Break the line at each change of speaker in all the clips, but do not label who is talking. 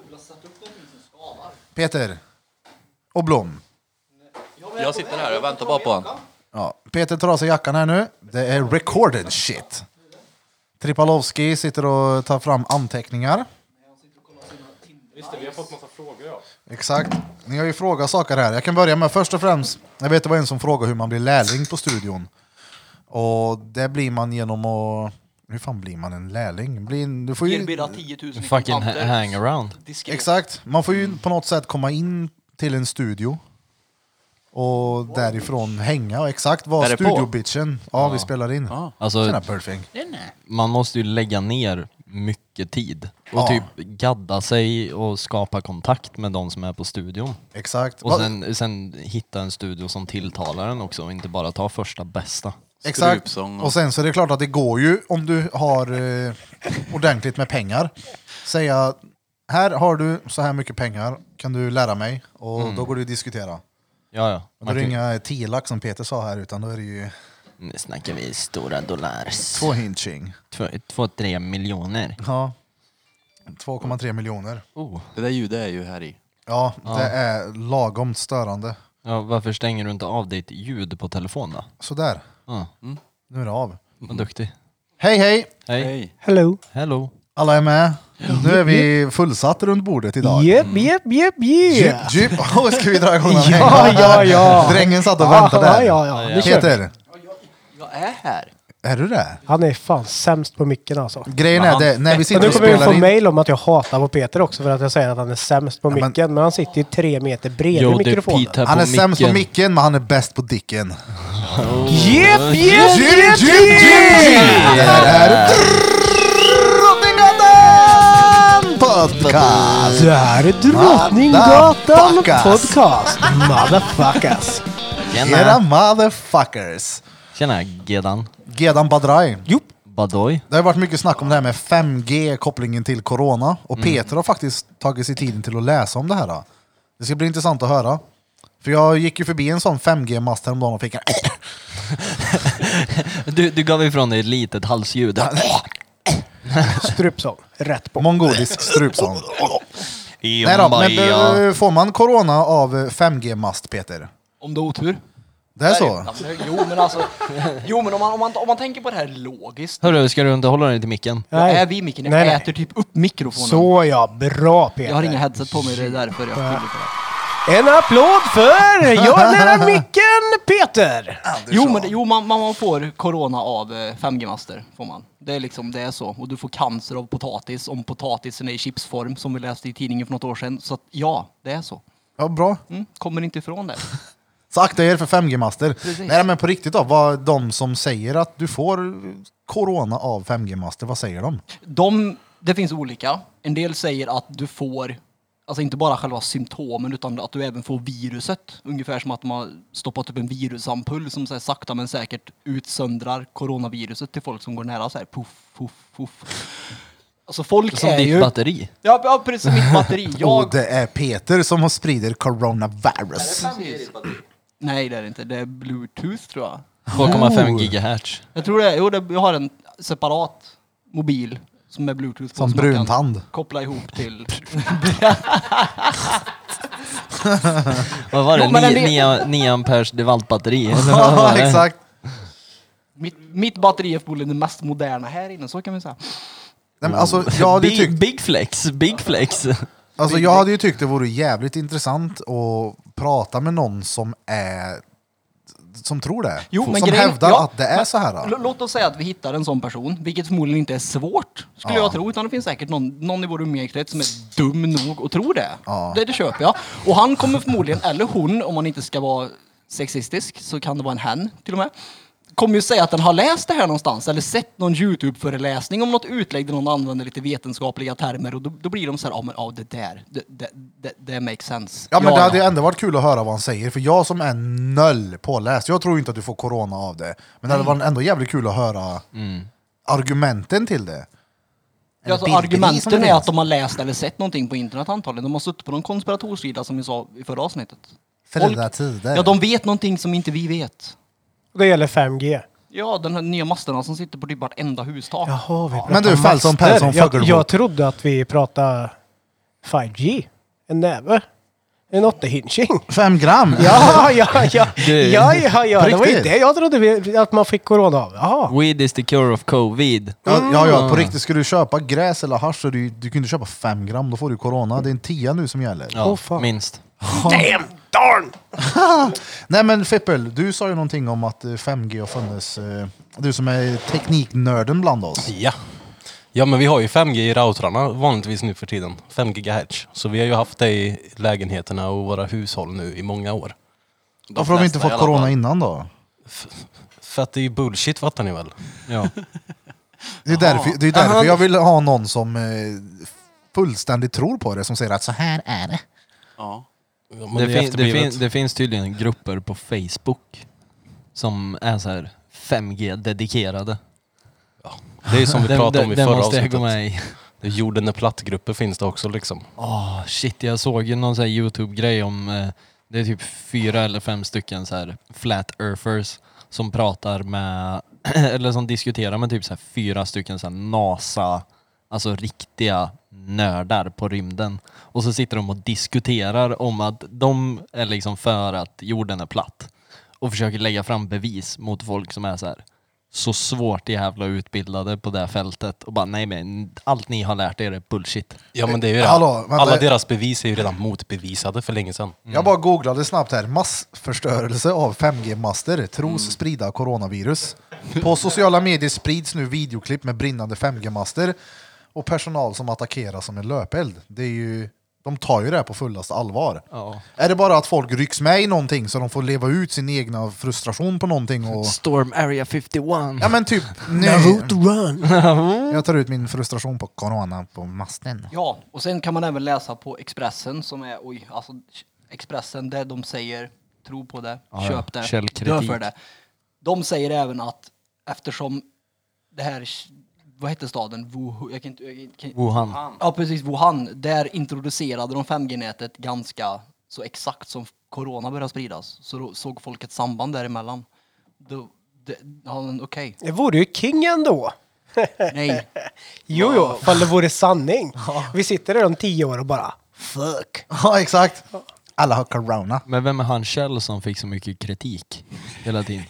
satt upp någonting som skavar.
Peter. Och Blom.
men
Jag
är på
sitter
väg.
här och
Jag
väntar
tar
bara på
jackan.
han.
Ja, Peter tar av sig jackan här nu. Det är recorded shit. Tripalovski sitter och tar fram anteckningar.
Just det, vi har fått massa frågor ja.
Exakt. Ni har ju frågat saker här. Jag kan börja med först och främst. Jag vet det var en som frågade hur man blir lärling på studion. Och det blir man genom att... Hur fan blir man en lärling? Blir, en- du får ju,
Erbjuda 10 000 i
Fucking
kontanter.
hangaround.
Diskret.
exakt. Man får ju på något sätt komma in till en studio. Och därifrån hänga. Exakt var
Är det på?
studiobitchen. Ja, vi spelar in. Tjena
Alltså,
Burfing.
man måste ju lägga ner mycket tid och
Ja.
typ gadda sig och skapa kontakt med de som är på studion.
Exakt.
Och
Va-
sen, sen hitta en studio som tilltalar en också och inte bara ta första bästa.
Exakt.
Strupsång och-
Och sen så är det klart att det går ju om du har eh, ordentligt med pengar. Säga, här har du så här mycket pengar, kan du lära mig? Och
Mm.
då går du att diskutera.
Ja, ja.
Men då är
Man
det
kan-
inga 10 lax som Peter sa här, utan då är det ju
Nu snackar vi stora dollars.
två hinching.
Två, två tre miljoner.
Ja. 2,3 miljoner.
Oh.
Det där ljudet är ju här i.
Ja, det är lagom störande.
Ja, varför stänger du inte av ditt ljud på telefonen då?
Sådär,
Ja,
nu är det av.
vad duktig.
Hej hej!
Hej.
Hej.
Hello.
Hello.
Alla är med. Nu är vi fullsatt runt bordet idag.
Jep, jep, jep,
Djup,
yeah.
djup. Åh, ska vi dra igång den här?
Ja, ja, ja.
Drängen satt och väntade där.
Ah, Ja, ja, ja. Nu kör vi.
Peter,
Jag är här.
är du det?
Han är fan sämst på micken alltså.
Grejen är det, när vi
Och
sitter
nu
och
kommer vi
spelar
få
in...
mejl om att jag hatar på Peter också för att jag säger att han är sämst på
men-
micken. Men han sitter ju tre meter bredvid
Jo, det är
mikrofonen.
Pete här
Han är sämst på
micken.
micken, men han är bäst på dicken.
Jep,
Djup,
jep, jep,
djup,
jep!
djup! Det här är Drottninggatan Podcast!
Det här är Drottninggatan
Motherfuckers.
Podcast. Motherfuckers.
Era
Tjena.
motherfuckers!
Tjena, Gedan.
Gedan Badraj.
Jo,
Badoy.
Det har varit mycket snack om det här med 5G, kopplingen till corona. Och Peter har faktiskt tagit sig tiden till att läsa om det här. då. Det ska bli intressant att höra. För jag gick ju förbi en sån 5G-mast häromdagen och fick en...
Du, du gav ifrån dig ett litet halsljud.
strupsång. Rätt på.
mongolisk strupsång. Nej då, men eh, får man corona av eh, 5G-mast, Peter?
Om du har otur.
Det är så?
Alltså, jo men alltså. Jo men om man, om man, om man tänker på det här logiskt.
Hörru, ska du inte hålla dig till micken?
Jag är vid micken. Jag
Nej, nej.
äter typ upp mikrofonen.
Så ja, bra Peter.
Jag har inga headset på mig. Det är därför jag skyller på det.
En applåd för jag är nära micken Peter!
Jo men det- jo, man, man, man får corona av eh, 5G-master. Får man. Det är liksom det är så. Och du får cancer av potatis om potatisen är i chipsform som vi läste i tidningen för något år sedan. Så att, ja, det är så.
Ja, bra.
Mm, kommer inte ifrån det.
Så akta er för 5G-master. Nej, men på riktigt då, vad de som säger att du får corona av 5G-master, vad säger de?
De, det finns olika. En del säger att du får, alltså inte bara själva symptomen utan att du även får viruset. Ungefär som att man har stoppat upp en virusampull som så här sakta men säkert utsöndrar coronaviruset till folk som går nära så här puff, puff, puff. Alltså folk
Som
är
ditt
ju...
batteri. Oh,
Ja, ja, precis som mitt batteri.
Och
Jag...
det är Peter som har sprider coronavirus.
Precis. Nej det är det inte, det är bluetooth tror jag.
Oh.
2,5 gigahertz.
Jag tror det, är- jo det, jag har en separat mobil som är bluetooth på.
Som
man kan
bruntand.
Koppla ihop till...
Vad var det?
Jo, men den är-
9 Ni, amperes DeWalt-batteri? eller vad var
Ja,
det?
exakt.
Mitt, mitt batteri är förmodligen det mest moderna här inne, så kan vi säga.
Nej, men alltså, jag hade ju
Big,
tyckt,
big flex, big flex.
alltså, jag hade ju tyckt det vore jävligt intressant att prata med någon som är som tror det.
Jo,
som
men grejen-
hävdar
ja,
att det är
men-
så här.
L- Låt oss säga att vi hittar en sån person, vilket förmodligen inte är svårt, skulle
Ja.
jag tro. Utan det finns säkert någon, någon i vår umgängeskrets som är dum nog och tror det.
Ja.
det. Det köper jag. Och han kommer förmodligen, eller hon, om man inte ska vara sexistisk, så kan det vara en hen till och med. Kommer ju säga att den har läst det här någonstans eller sett någon Youtube-föreläsning om något utlägg där någon använder lite vetenskapliga termer och då, då blir de så här, ja men ja, det där, det, det, det, det makes sense.
Ja men det hade ju ändå varit kul att höra vad han säger, för jag som är noll påläst, jag tror inte att du får corona av det. Men det hade varit ändå jävligt kul att höra argumenten till det.
Ja, alltså,
Eller bilder i som
argumenten
det
är
finns.
att de har läst eller sett någonting på internet antagligen. De har suttit på någon konspiratorsida som vi sa i förra avsnittet.
Fredda
Folk-
tider.
Ja, de vet någonting som inte vi vet.
Det gäller 5G.
Ja, den här nya masterna som sitter på typ vartenda hustak.
Jaha, vi pratar
Men du, Fältson,
master.
Pältson,
jag,
Fuggelbo.
jag trodde att vi pratade 5G. En näve. En åttahinching.
Fem gram?
Ja, ja, ja.
Du,
Ja, ja, ja.
på
Det var ju
riktigt?
det jag trodde vi, att man fick corona av. Jaha.
Weed is the cure of covid.
Ja, ja, ja,
Mm.
på riktigt. Skulle du köpa gräs eller hasch så du, du kunde köpa fem gram, då får du corona. Det är en tia nu som gäller.
Ja,
Åh, fan.
minst.
Damn! Darn!
Nej men Fippel, du sa ju någonting om att eh, 5G har funnits. eh, Du som är tekniknörden bland oss.
Ja. Ja, men vi har ju 5G i routrarna vanligtvis nu för tiden. 5 GHz. Så vi har ju haft det i lägenheterna och våra hushåll nu i många år.
Varför har vi inte
flesta i
fått
alla
corona
fall.
innan då?
För att det är ju bullshit fattar ni väl?
Ja.
Det är därför, det är därför jag vill ha någon som eh, fullständigt tror på det, som säger att så här är det.
Ja.
Ja, men
Det, fin- det,
efterblivet.
fin- det finns tydligen grupper på Facebook som är så här 5G-dedikerade.
det är ju som vi
Den-
pratade om i
den- den
förra
måste jag
avsnittet.
gå med i.
Det är Jorden är platt-grupper finns det också liksom.
Åh, Ah, shit, jag såg ju någon sån här YouTube-grej om, eh, det är typ fyra eller fem stycken så här flat-earthers som pratar med, eller som diskuterar med typ så här fyra stycken så här NASA, alltså riktiga nördar på rymden. Och så sitter de och diskuterar om att de är liksom för att jorden är platt. Och försöker lägga fram bevis mot folk som är så här så svårt jävla utbildade på det här fältet och bara nej men allt ni har lärt er är bullshit.
Ja men det är ju det.
Hallå, vänta.
Alla deras bevis är ju redan motbevisade för länge sedan.
Mm. Jag bara googlade snabbt här. Massförstörelse av 5G-master tros
Mm.
sprida coronavirus. På sociala medier sprids nu videoklipp med brinnande 5G-master och personal som attackeras som en löpeld. Det är ju, de tar ju det här på fullaste allvar.
Ja.
Är det bara att folk rycks med i någonting så de får leva ut sin egna frustration på någonting? Och...
Storm Area 51.
Ja men typ, nej.
Naruto run!
Jag tar ut min frustration på corona på masten.
Ja, och sen kan man även läsa på Expressen som är, oj, alltså Expressen där de säger tro på det,
Ja, ja.
köp det,
Källkritik.
dö för det. De säger även att eftersom det här, vad hette staden? Wuhan, jag kan inte, jag kan,
Wuhan.
Ja, precis. Wuhan, där introducerade de 5G-nätet ganska så exakt som corona började spridas. Så då såg folk ett samband däremellan. Då, det, ja, men okej.
Det vore ju king ändå.
Nej.
Jo, jo, ifall det vore sanning. Vi sitter där om tio år och bara fuck.
Ja exakt. Alla har corona.
Men vem är han Kjell som fick så mycket kritik hela tiden?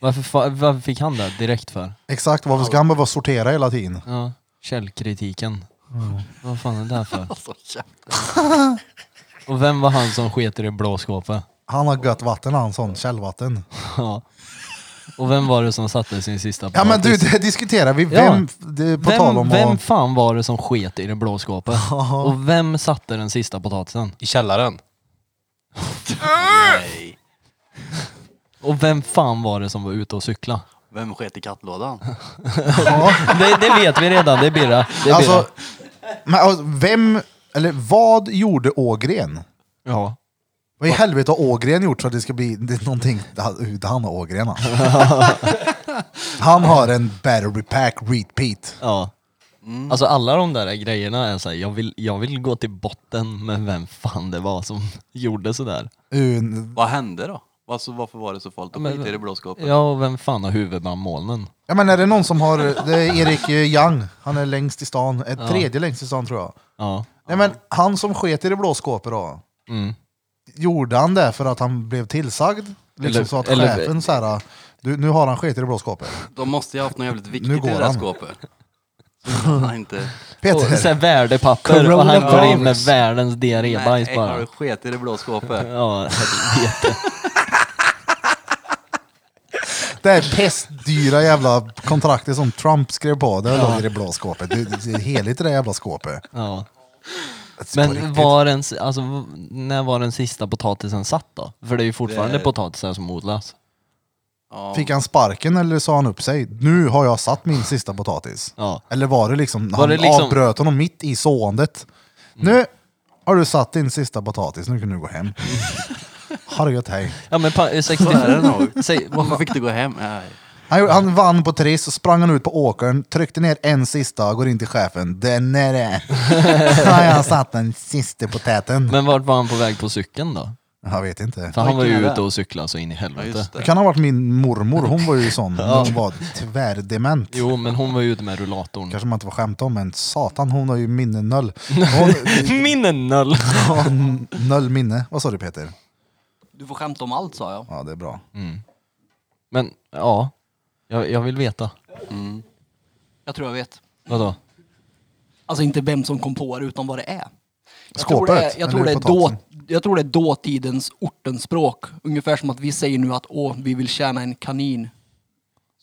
Varför, fa- varför fick han det direkt för?
Exakt, varför ska han behöva sortera hela tiden?
Ja, Källkritiken. Vad fan är det här för?
Alltså, käft.
Och vem var han som sket i det blå skåpet?
Han har gött vatten han, sån källvatten.
Ja. Och vem var det som satte sin sista
Ja men du,
potatis?
det diskuterar vi.
Ja.
Vem, det, på tal
vem,
om
vem
att...
fan var det som sket i det blå skåpet? Och vem satte den sista potatisen?
I källaren.
Och vem fan var det som var ute och cykla?
Vem sket i kattlådan?
Det, det vet vi redan, det är Birra. Det är
Alltså,
Birra.
men, alltså, vem, eller vad gjorde Ågren?
Ja.
Vad i helvete har Ågren gjort så att det ska bli det är någonting? Det han- det han har Ågren han. Han har en battery pack repeat.
Ja. Alltså alla de där grejerna är såhär, jag vill, jag vill gå till botten med vem fan det var som gjorde sådär.
Un-
Vad hände då? Alltså, varför var det så farligt att
Men-
skita i det blå skåpet?
Ja, och vem fan har huvudet bland molnen?
Ja men är det någon som har, det är Erik eh, Young, han är längst i stan, eh, tredje längst i stan tror jag.
Ja.
Nej men han som sket i det blå skåpet då,
Mm.
gjorde han det för att han blev tillsagd? Liksom
Eller-
så att
eller-
chefen så här, du, nu har han skett i det blå skåpet.
De måste ju ha haft något jävligt
Nu
viktigt
går
i det där
han.
skåpet. Så han inte...
Och
Peter,
sen värdepapper och han går in med
Coronavirus.
världens diarrébajs
Nej, har
bara.
du sket i det blå skåpet?
Ja, helvete.
det är pestdyra jävla kontraktet som Trump skrev på, det låg i det blå skåpet. Det, det är heligt i det jävla skåpet.
Ja.
Alltså, på
Men
riktigt.
var den, s- alltså, v- när var den sista potatisen satt då? För det är ju fortfarande
Det-
potatisar som odlas.
Ja.
Fick han sparken eller sa han upp sig? Nu har jag satt min sista potatis.
Ja.
Eller var det liksom,
Var
han
det liksom- Mm.
avbröt honom mitt i såendet. Nu har du satt din sista potatis, nu kan du gå hem. ha det gött, hej.
Ja men pa-
Så är det
65...
nog.
Säg,
Varför fick du gå hem? Nej.
Han, gjorde- han vann på Triss, så sprang han ut på åkern, tryckte ner en sista, går in till chefen. Den är det. Så har jag satt den sista potäten.
men vart var han på väg på cykeln då?
Jag vet inte.
För han var ju
Vilken är
ute
det?
och cyklade så in i
Ja,
helvete.
just
Det
det.
kan ha varit min mormor, hon var ju sån. Hon var tvärdement.
Jo, men hon var ju ute med rullatorn.
Kanske man inte får skämta om, men satan hon har ju minne noll. Hon,
Minnen noll!
hon, noll minne. Vad sa du Peter?
Du får skämta om allt sa jag.
Ja det är bra.
Mm.
Men ja, jag, jag vill veta.
Jag tror jag vet.
Vadå?
Alltså inte vem som kom på det, utan vad det är. Jag tror
Skåpet?
det är, jag tror
eller
det är, då,
potatisen?
jag tror det är dåtidens ortenspråk. Ungefär som att vi säger nu att åh, vi vill tjäna en kanin.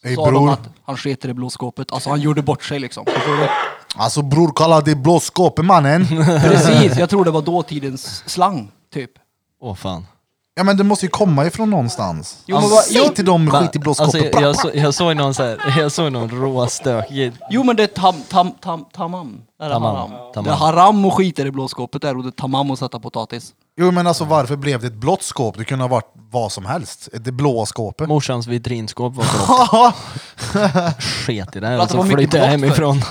Ey,
Sa de
bror.
att han sket i det blå skåpet. Alltså han gjorde bort sig liksom. Förstår du?
Alltså bror kalla det blå skåpet mannen.
Precis, jag tror det var dåtidens slang, typ.
Åh fan.
Ja men det måste ju komma ifrån någonstans.
Jo,
Jo,
men vad-
Säg
jo-
till dem skit i blå skåpet.
Alltså, jag, jag, så, jag såg någon så här, jag såg någon råstökig...
Jo men det är tam, tam, tam, tamam. Där är
Tamam.
haram.
Tamam.
Det är haram och skiter i blå skåpet där och det är tamam att sätta potatis.
Jo men alltså varför blev det ett blått skåp? Det kunde ha varit vad som helst. Det blåa skåpet.
Morsans vitrinskåp var blått. Sket i det här
Att
och
det
så
var mycket
flyttade jag
blått för.
hemifrån.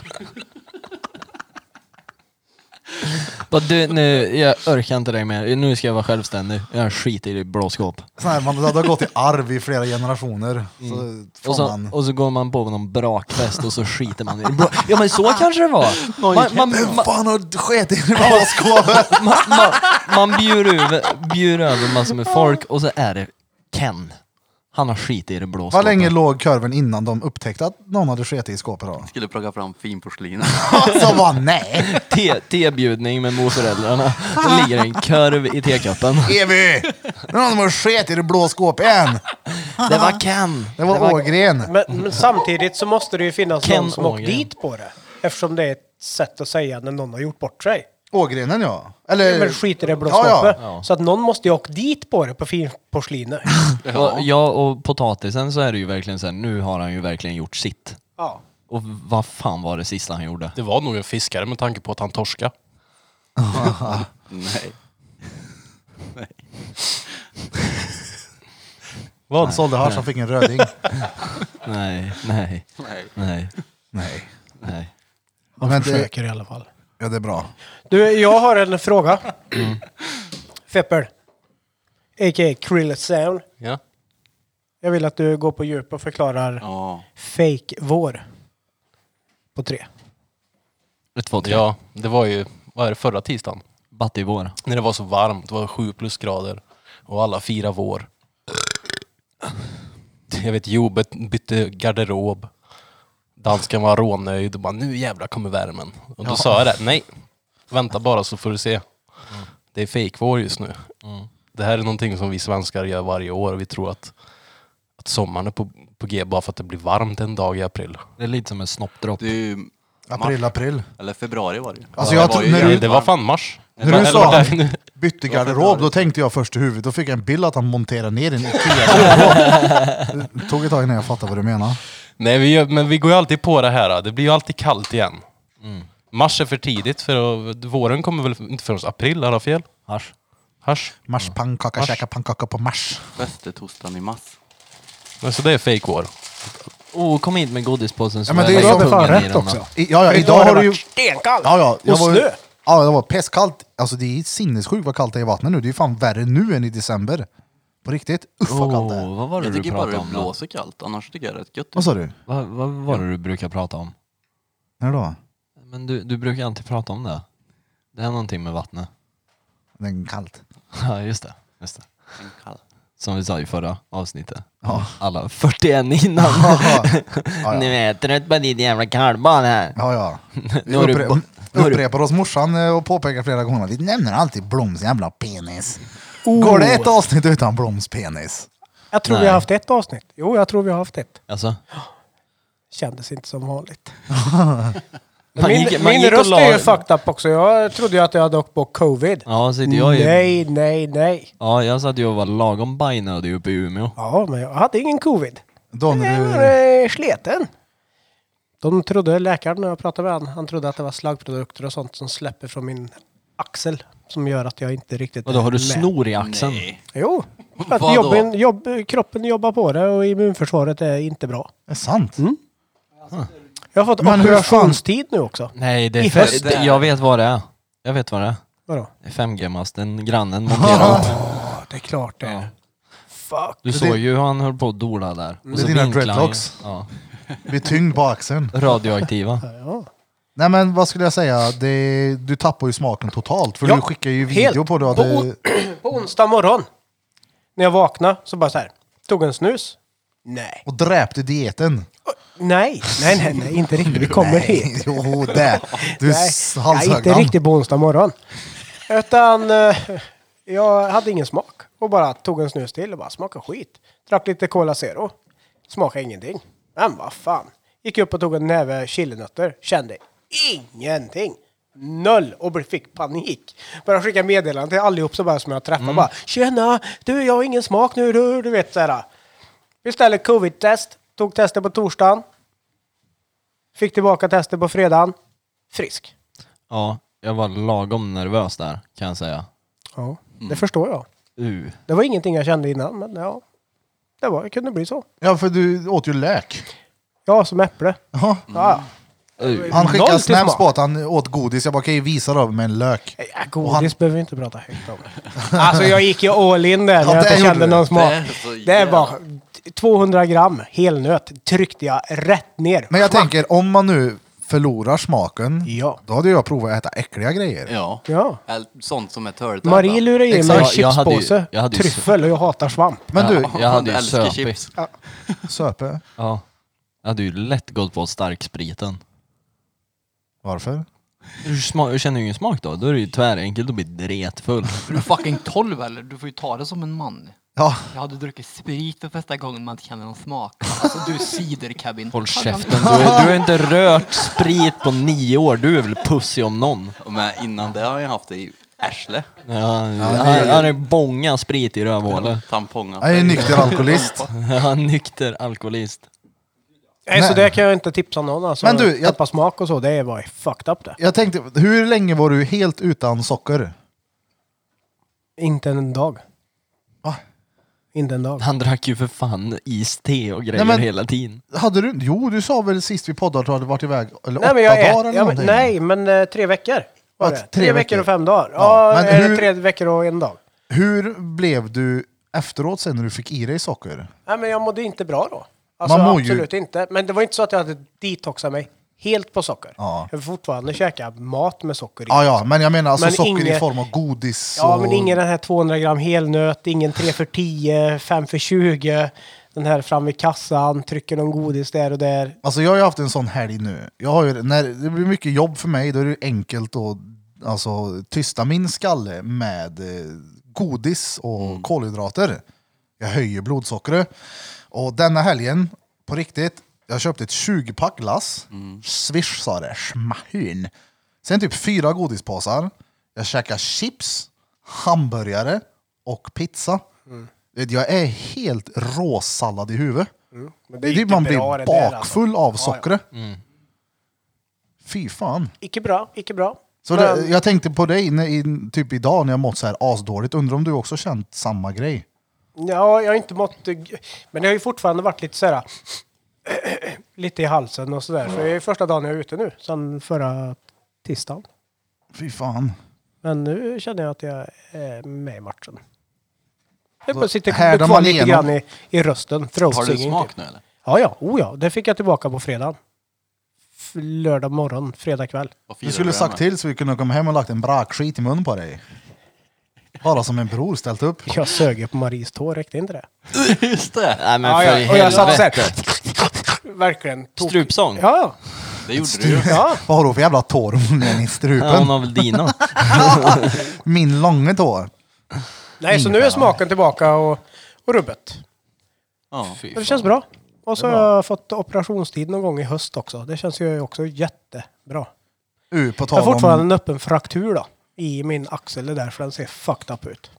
Bara, du, nu, jag orkar inte dig mer. Nu ska jag vara självständig. Jag skiter i ditt blåskåp.
Sån här, man, det hade gått i arv i flera generationer. Så,
Mm.
får
Och så,
man.
och så går man på någon brakfest och så skiter man i det. blå- Ja men så kanske det var. Man, man, man,
Vem fan har skett i det blå skåpet?
man, man, man bjuder, över, bjuder över massor med folk och så är det Ken. Han har skit i det blå
Vad
skåpet.
länge låg kurven innan de upptäckte att någon hade skett i skåpet då?
Skulle plocka fram finporslin.
Så bara nej!
Te- Tebjudning med morföräldrarna. Det ligger en kurv i tekoppen.
Evy! Det är någon som har skett i det blå skåpet än!
Det var Ken.
Det var Ågren.
Men, men samtidigt så måste det ju finnas
Ken
någon som åkt
Ågren.
dit på det. Eftersom det är ett sätt att säga när någon har gjort bort sig.
Ågrenen ja. Eller...
Men skiter det i blå
Ja, ja.
skåpet. Så att någon måste ju ha åkt dit på det på finporslinet.
Och, ja, och potatisen så är det ju verkligen så här, nu har han ju verkligen gjort sitt.
Ja.
Och vad fan var det sista han gjorde?
Det var nog en fiskare med tanke på att han torska.
Nej.
Vad? Sålde hasch, han fick en röding.
Nej, nej,
Nej.
nej,
Nej.
nej.
Man
Men det-
försöker i alla fall.
Ja det är bra.
Du, jag har en fråga. Feppel. A.k.a. Krill Sound.
Ja.
Jag vill att du går på djup och förklarar
Ja.
fake vår. På tre.
Ett, två, tre.
ja, det var ju, vad är det, förra tisdagen?
Batt i vår.
När det var så varmt, det var sju plusgrader och alla firar vår. Jag vet, Jo bet- bytte garderob. Dansken var rånöjd och bara nu jävlar kommer värmen. Och då sa jag det, nej, vänta bara så får du se. Det är fejkvår just nu.
Mm.
Det här är någonting som vi svenskar gör varje år och vi tror att, att sommaren är på, på G bara för att det blir varmt en dag i april.
Det är lite som en snoppdropp.
Det är ju
April, april.
Eller februari var det ju.
Alltså,
Det
jag
var
tror-
ju
när du-
Det,
jävligt
det var
varmt.
fan mars.
När du
Eller
sa
var det-
han bytte garderob, då tänkte jag först i huvudet. Då fick jag en bild att han monterade ner en Ikea-garderob. Det tog ett tag innan jag fattade vad du menar.
Nej, vi gör, men vi går ju alltid på det här. Det blir ju alltid kallt igen.
Mm.
Mars är för tidigt, för att- våren kommer väl inte förrän april, har jag fel?
Hasch.
Hasch.
Mars pannkaka,
Mars.
käka pannkaka på mars.
Västertostan i mass.
Men Så det är fake war.
Oh, kom hit med godispåsen så
Ja, men det är
jag
ju
lägger
så-
tungan
fan
i
rätt
den
också.
då.
I, ja, ja,
För
idag har
det
du ju...
varit stenkallt!
Ja, ja, jag
och
var,
snö!
ju- ja, det var pestkallt. Alltså det är sinnessjukt vad kallt det är i vattnet nu. Det är fan värre nu än i december. På riktigt. Uff vad kallt det är.
Oh, vad var det
Jag
du
tycker bara
pratade
det
om? då?
blåser kallt, annars tycker jag det är rätt gött.
Vad sa du?
Vad, vad var det du brukar prata om?
När då?
Men du, du brukar alltid prata om det. Det är någonting med vattnet.
Den kallt.
Ja, just det. Just det.
En kall.
Som vi sa i förra avsnittet.
Ja.
Alla 41 innan.
ja, ja.
Nu är jag trött på din jävla kallbad här.
Ja, ja. Vi
Nu har du bo-
uppre-
nu har du-
upprepar oss morsan eh, och påpekar flera gånger att vi nämner alltid Bloms jävla penis.
Oh.
Går det ett avsnitt utan Bloms penis?
Jag tror vi
Nej.
har haft ett avsnitt. Jo, jag tror vi har haft ett.
Alltså,
Kändes inte som vanligt.
Man
min
gick- man
min
gick och
röst
la-
är ju fucked up också. Jag trodde ju att jag hade åkt på covid.
ja, sitter jag ju...
Nej, nej, nej.
Ja, jag satt ju och var lagom bajnödig uppe i Umeå.
Ja, men jag hade ingen covid.
Då när
Jag
du...
var eh, sleten. De trodde, läkaren när jag pratade med han, han trodde att det var slaggprodukter och sånt som släpper från min axel. Som gör att jag inte riktigt
Och då
är
har du
med.
snor i axeln?
Nej.
Jo. För att
Vadå?
jobben, jobb, kroppen jobbar på det och immunförsvaret är inte bra.
Är sant?
Mm. Jag har fått
Men hur fan-
operationstid nu också.
Nej, det
I
är
höst.
för, det, jag vet vad det är. Jag vet vad det är.
Vadå?
Det är 5G-masten grannen monterade upp.
det är klart det är. Fuck.
Du såg ju hur han höll på att dola där. Och
Det är dina
vinklade han ju.
dreadlocks.
Ja.
Vid tyngd på axeln.
Radioaktiva.
Ja.
Nej men vad skulle jag säga, det, du tappar ju smaken totalt för
Ja,
du skickar ju
helt.
video på det. att
På
det
På onsdag morgon, när jag vaknade, så bara så här. Tog en snus? Nej.
och dräpte dieten.
Nej, nej, nej, nej inte riktigt. Vi kommer hit.
Jo, det. Du
Nej,
s-
nej,
halshögg
inte
han.
riktigt på onsdag morgon. Utan eh, jag hade ingen smak och bara tog en snus till och bara smakade skit. Drack lite Cola Zero. Smakade ingenting. Men vad fan. Gick upp och tog en näve chilinötter. Kände ingenting. Noll och bli- fick panik. Började skicka meddelanden till allihop som, bara, som jag
Mm.
träffade. Bara, Tjena! Du, jag har ingen smak nu. Du, du vet så här. Beställde covid-test. Tog testet på torsdagen. Fick tillbaka testet på fredagen. Frisk.
Ja, jag var lagom nervös där kan jag säga.
Ja, det förstår jag.
Uh.
Det var ingenting jag kände innan, men ja. Det, var, det kunde bli så.
Ja, för du åt ju lök.
Ja, som äpple.
Ja.
Ja.
Uh.
Han
Noll
skickade
till
snaps
smak.
på att han åt godis. Jag bara, kan ju visa då med en lök.
Ja, Äh,
Och han-
godis behöver vi inte prata högt om. Alltså jag gick ju all in där när
Ja,
jag
det
inte
gjorde
kände
du.
någon smak.
är så
Det är
jävla-
bara 200 gram helnöt tryckte jag rätt ner.
Men jag tänker, om man nu förlorar smaken,
Ja.
då hade jag provat att äta äckliga grejer.
Ja.
Ja.
Eller Sånt som är törligt.
Marie lurade i mig en
Exakt. Jag hade ju-
chipspåse,
jag hade ju-
tryffel och jag hatar svamp.
Men du,
Ja, jag hade ju
älskar
söpig.
chips.
söpe.
Ja. Jag hade ju lätt gått på starkspriten.
Varför?
Du sma- känner ju ingen smak då. Då är det ju tvärenkelt att bli dretfull.
För du är fucking 12 eller? Du får ju ta det som en man.
Ja,
Jag hade druckit sprit för första gången man inte kände någon smak. Alltså du är ciderkabin.
Håll käften. Du, är, du har inte rört sprit på nio år. Du är väl pussy om någon.
Men innan det har jag haft det i arsle.
Ja, han, han är bånga sprit i rövhålet.
Tampongat.
jag är nykter alkoholist.
Ja, nykter alkoholist.
Nej, så
Nej.
det kan jag inte tipsa någon alltså.
Men du, jag-
Tappa smak och så, det var ju fucked up det.
Jag tänkte, hur länge var du helt utan socker?
Inte en dag.
Va?
Inte en dag.
Han drack ju för fan iste och grejer
Nej, men-
hela tiden.
Hade du Jo, du sa väl sist vi poddade att du hade varit iväg eller
Nej
åtta
men, jag
dagar
ät,
eller
ja, men,
någonting?
nej, men eh, tre veckor. Var
Ja,
det.
tre
Tre, veckor.
veckor.
och fem dagar.
Ja,
Ja,
men
eller
hur-
tre veckor och en dag.
Hur blev du efteråt sen när du fick i dig socker?
Nej men jag mådde inte bra då. Alltså
Man mår ju-
absolut inte. Men det var inte så att jag hade detoxat mig helt på socker.
Ja.
Jag vill fortfarande käka mat med socker i.
Ja, alltså. ja, men jag menar alltså
Men
socker i
inget-
form av godis
Ja,
och...
men ingen den här 200 gram helnöt, ingen 3 för 10, 5 för 20. Den här fram vid kassan, trycker någon godis där och där.
Alltså jag har ju haft en sån helg nu. Jag har ju, när det blir mycket jobb för mig, då är det ju enkelt att alltså, tysta min skalle med eh, godis och kolhydrater. Jag höjer blodsockret. Och denna helgen, på riktigt, jag köpte ett 20-pack glass. Swish sa det, smahyn. Sen typ fyra godispåsar. Jag käkar chips, hamburgare och pizza. Vet, Jag är helt råsallad i huvudet.
Men
Det är man blir
alltså.
bakfull av sockret. Fy fan.
Icke bra, icke bra.
Så
Men-
det, jag tänkte på dig när, i, typ idag när jag mått så här asdåligt. Undrar om du också känt samma grej?
Ja, jag har inte mått... eh, Men det har ju fortfarande varit lite sådär... lite i halsen och sådär. Så det är första dagen jag är ute nu, sedan förra tisdagen.
Fy fan.
Men nu känner jag att jag är med i matchen. Det bara sitter
härdar
kvar
man
lite
igenom.
grann i, i rösten.
Har du
throat-singing,
smak
typ.
nu eller?
Ja, ja. Oh, ja. Det fick jag tillbaka på fredag. Lördag morgon, fredag kväll.
Vad firar
Du skulle
det
sagt
med?
till så vi kunde komma hem och lagt en brakskit i mun på dig. Bara som en bror ställt upp.
Jag sög ju på Maries tå, räckte inte det?
Just det!
Nej men
Ja,
för
ja. Och jag satt
helvete.
såhär... Verkligen. Tok.
Strupsång?
Ja, ja.
Det gjorde du ju.
ja.
Vad har du för jävla tår i
Ja,
strupen?
hon har väl dina.
Min långa tå.
Nej, så nu är smaken tillbaka och, och rubbet.
Ja.
Men det känns bra. Och så har jag fått operationstid någon gång i höst också. Det känns ju också jättebra.
Uh, på
Jag har
tal
fortfarande
om...
en öppen fraktur då. I min axel det där, för den ser fucked up ut.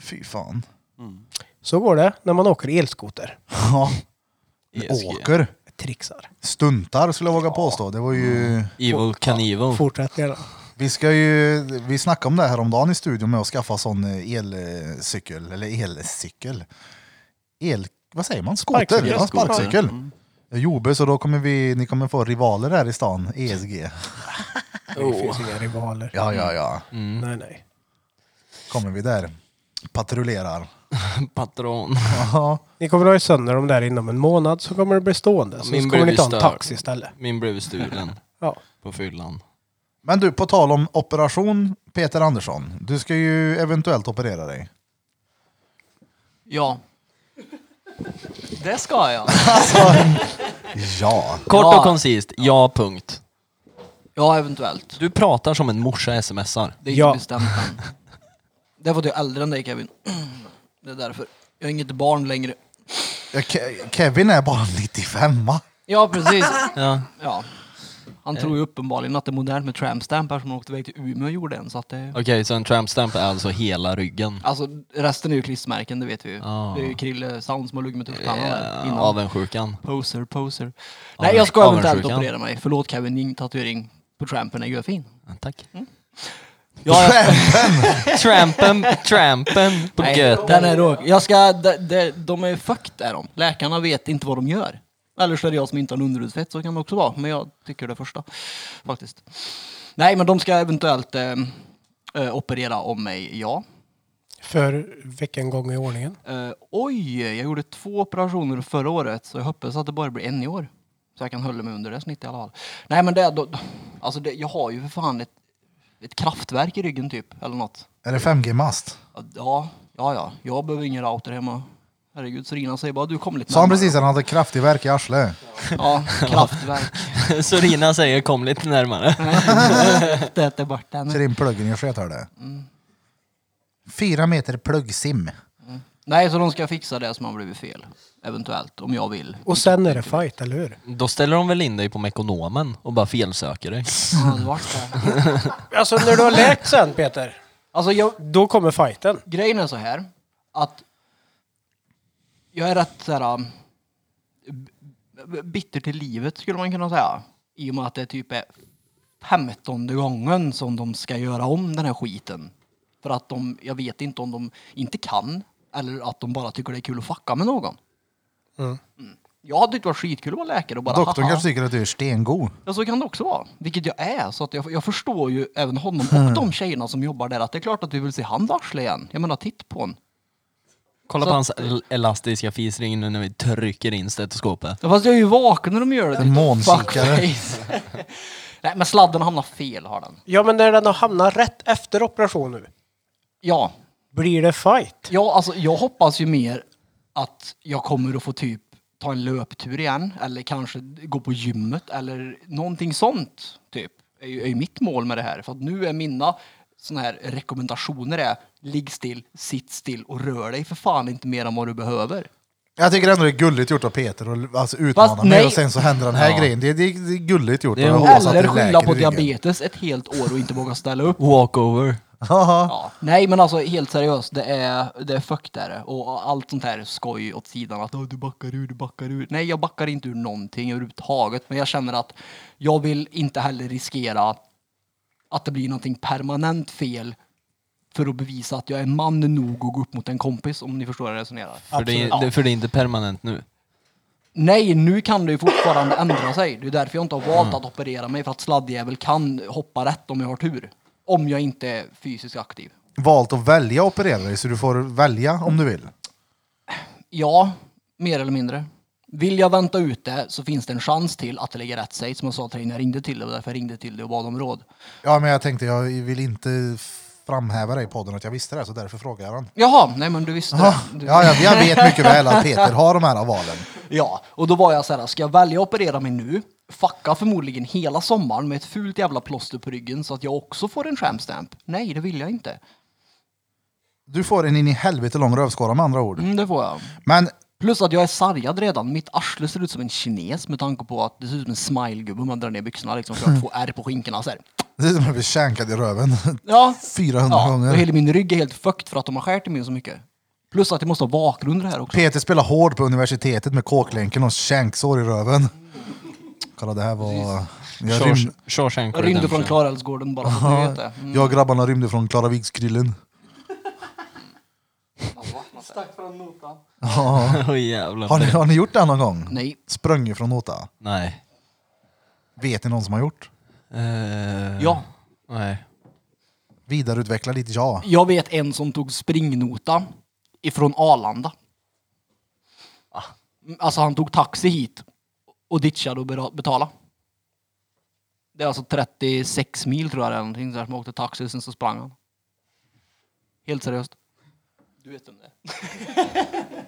Fy fan.
Så går det när man åker elskoter.
Ja.
ESG.
Åker.
Trixar.
Stuntar skulle jag våga påstå. Det var ju...
Evil Knievel.
Fortsätt gärna.
Vi ska ju, vi snackade om det här om dagen i studion med att skaffa sån eh, elcykel, eller elcykel. El, vad säger man? Skoter?
Sparkcykel.
Ja, sparkcykel. Eh, Jobe, så då kommer vi, ni kommer få rivaler här i stan, E ESG.
Det finns inga rivaler.
Ja, ja, ja.
Nej, nej.
Kommer vi där. Patrullerar.
Patron.
Ja.
Ni kommer att ha sönder dem där inom en månad så kommer det bli stående. så,
min
så kommer ni
blev
ta en
störd.
taxi istället.
Min blev stulen
Ja.
på fyllan.
Men du, på tal om operation Peter Andersson. Du ska ju eventuellt operera dig.
Ja. Det ska jag.
Ja.
Kort
Ja.
och koncist, ja punkt.
Ja, eventuellt.
Du pratar som en morsa smsar.
Det är inte
Ja.
bestämt än. Det är för att jag är äldre än dig Kevin. Det är därför. Jag är inget barn längre.
Ke- Kevin är bara 95
Ja, precis.
Ja.
Ja. Han tror ju uppenbarligen att det är modernt med trampstampar som åkte iväg till Umeå och gjorde en. Så att det...
Okej, så en tramp stamp är alltså hela ryggen?
Alltså resten är ju klistermärken, det vet vi ju.
Ah.
Det är ju Krille Sound som har luggit med tuttpannan där
Eh,
innan.
Avundsjukan.
Poser, poser.
Ja,
Nej,
men-
jag ska eventuellt
avundsjukan.
operera mig. Förlåt Kevin, din tatuering på trampen är görfin.
Ja, Mm. Tack.
Ja,
Trampen, trampen på
nej,
gött.
den är då. Jag ska, de, de, de är fucked är de. Läkarna vet inte vad de gör. Eller så är det jag som inte har en underhudsfett, så kan det också vara. Men jag tycker det första, faktiskt. Nej, men de ska eventuellt eh, eh, operera om mig, ja.
För vilken gång i ordningen?
Eh, oj, jag gjorde två operationer förra året så jag hoppas att det bara blir en i år. Så jag kan hålla mig under det snittet i alla fall. Nej men det, är då, alltså det, jag har ju för fan ett, ett kraftverk i ryggen typ, eller något.
Är det 5G-mast?
Ja, ja, ja. Jag behöver ingen router hemma. Herregud, Serina säger bara du kom lite
Sa han
närmare."
precis att han hade kraftig värk i arslet?
Ja, kraftverk.
Sorina säger kom lite närmare.
det är borta
Kör
henne.
in pluggen i skethörde. Fyra meter pluggsim.
Nej, så de ska fixa det som har blivit fel. Eventuellt, om jag vill.
Och sen är det fight, eller hur?
Då ställer de väl in dig på Mekonomen och bara felsöker dig.
Ja, det vart det.
Alltså när du har läkt sen Peter,
Alltså jag,
då kommer fighten.
grejen är så här att jag är rätt så här um, b- b- bitter till livet skulle man kunna säga. I och med att det typ är femtonde gången som de ska göra om den här skiten. För att de, jag vet inte om de inte kan eller att de bara tycker det är kul att fucka med någon. Mm. Jag hade tyckt det var skitkul att vara läkare och bara
Doktorn
haha.
kanske tycker att du är stengod.
Ja, så kan det också vara. Vilket jag är. Så att jag, jag förstår ju även honom och de tjejerna som jobbar där att det är klart att vi vill se han varsla igen. Jag menar, titta på honom.
Kolla
Så
på hans el- elastiska fisring nu när vi trycker in stetoskopet.
Ja, Fast jag är ju vaken när de gör det.
En månsikare.
Fuckface. Nej, men sladden hamnar fel har den.
Ja men när den har hamnat rätt efter operation nu,
Ja,
blir det fight?
ja alltså, jag hoppas ju mer att jag kommer att få typ ta en löptur igen eller kanske gå på gymmet eller någonting sånt. Typ. är ju, är ju mitt mål med det här. För att nu är mina såna här rekommendationer är ligg still, sitt still och rör dig för fan inte mer än vad du behöver.
Jag tycker ändå det är gulligt gjort av Peter och alltså, utmana
Fast
mig
nej.
och sen så händer den här
Ja.
grejen. Det, det, det är gulligt gjort.
Det är
och jag
en
hoppas att
Eller
det
skylla
läker
på
i ryggen.
diabetes ett helt år och inte våga ställa upp.
Walkover.
Haha.
Ja. Nej men alltså helt seriöst, det är, det är fuck där. Och allt sånt här skoj åt sidan att "Åh, du backar ur, du backar ur. Nej jag backar inte ur någonting överhuvudtaget. Men jag känner att jag vill inte heller riskera att det blir någonting permanent fel för att bevisa att jag är man nog att gå upp mot en kompis om ni förstår hur jag resonerar.
För det,
Absolut.
är, det, för det är inte permanent nu.
Nej, nu kan det ju fortfarande ändra sig. Det är därför jag inte har valt att operera mig för att sladdjävel kan hoppa rätt om jag har tur. Om jag inte är fysiskt aktiv.
Valt att välja att operera dig så du får välja om du vill.
Ja, mer eller mindre. Vill jag vänta ut det så finns det en chans till att det ligger rätt sig. Som jag sa till dig när jag ringde till dig och därför jag ringde till dig och bad om råd.
Ja men jag tänkte jag vill inte framhäva dig i podden att jag visste det så därför frågar jag den.
Jaha, nej men du visste
Ja,
det. Du,
ja, jag vet mycket väl att Peter har de här valen.
Ja, och då var jag så här, ska jag välja att operera mig nu? Fucka förmodligen hela sommaren med ett fult jävla plåster på ryggen så att jag också får en tramstamp. Nej, det vill jag inte.
Du får en in i helvete lång rövskåra med andra ord.
Mm, det får jag.
Men
Plus att jag är sargad redan. Mitt arsle ser ut som en kines med tanke på att det ser ut som en smilegubbe om man drar ner byxorna liksom. För att få ärr på skinkorna så här.
det är som att bli känkad i röven
Ja,
400
ja. Och
gånger.
hela min rygg är helt fukt för att de har skärt i min så mycket. Plus att jag måste ha bakgrund i det här också.
Peter spelar hård på universitetet med kåklänken och känksår i röven. Kolla det här var... Jag, rym...
Shawsh- Shawshank
Jag rymde från
Redemption.
Klarälvsgården bara så att du vet det. Mm.
jag och grabbarna rymde från Klaraviksgrillen.
Åh jävlar.
Har ni, har ni gjort det här någon gång?
Nej.
Sprung ifrån nota?
Nej.
Vet ni någon som har gjort?
Eh,
Ja.
Nej.
Vidareutveckla ditt ja.
Jag vet en som tog springnota ifrån Arlanda.
Ah.
Mm, Alltså han tog taxi hit och ditchade och bera- betala. Det är alltså 36 mil tror jag det är någonting så här som åkte taxi och sen så sprang han. Helt seriöst. Du vet om det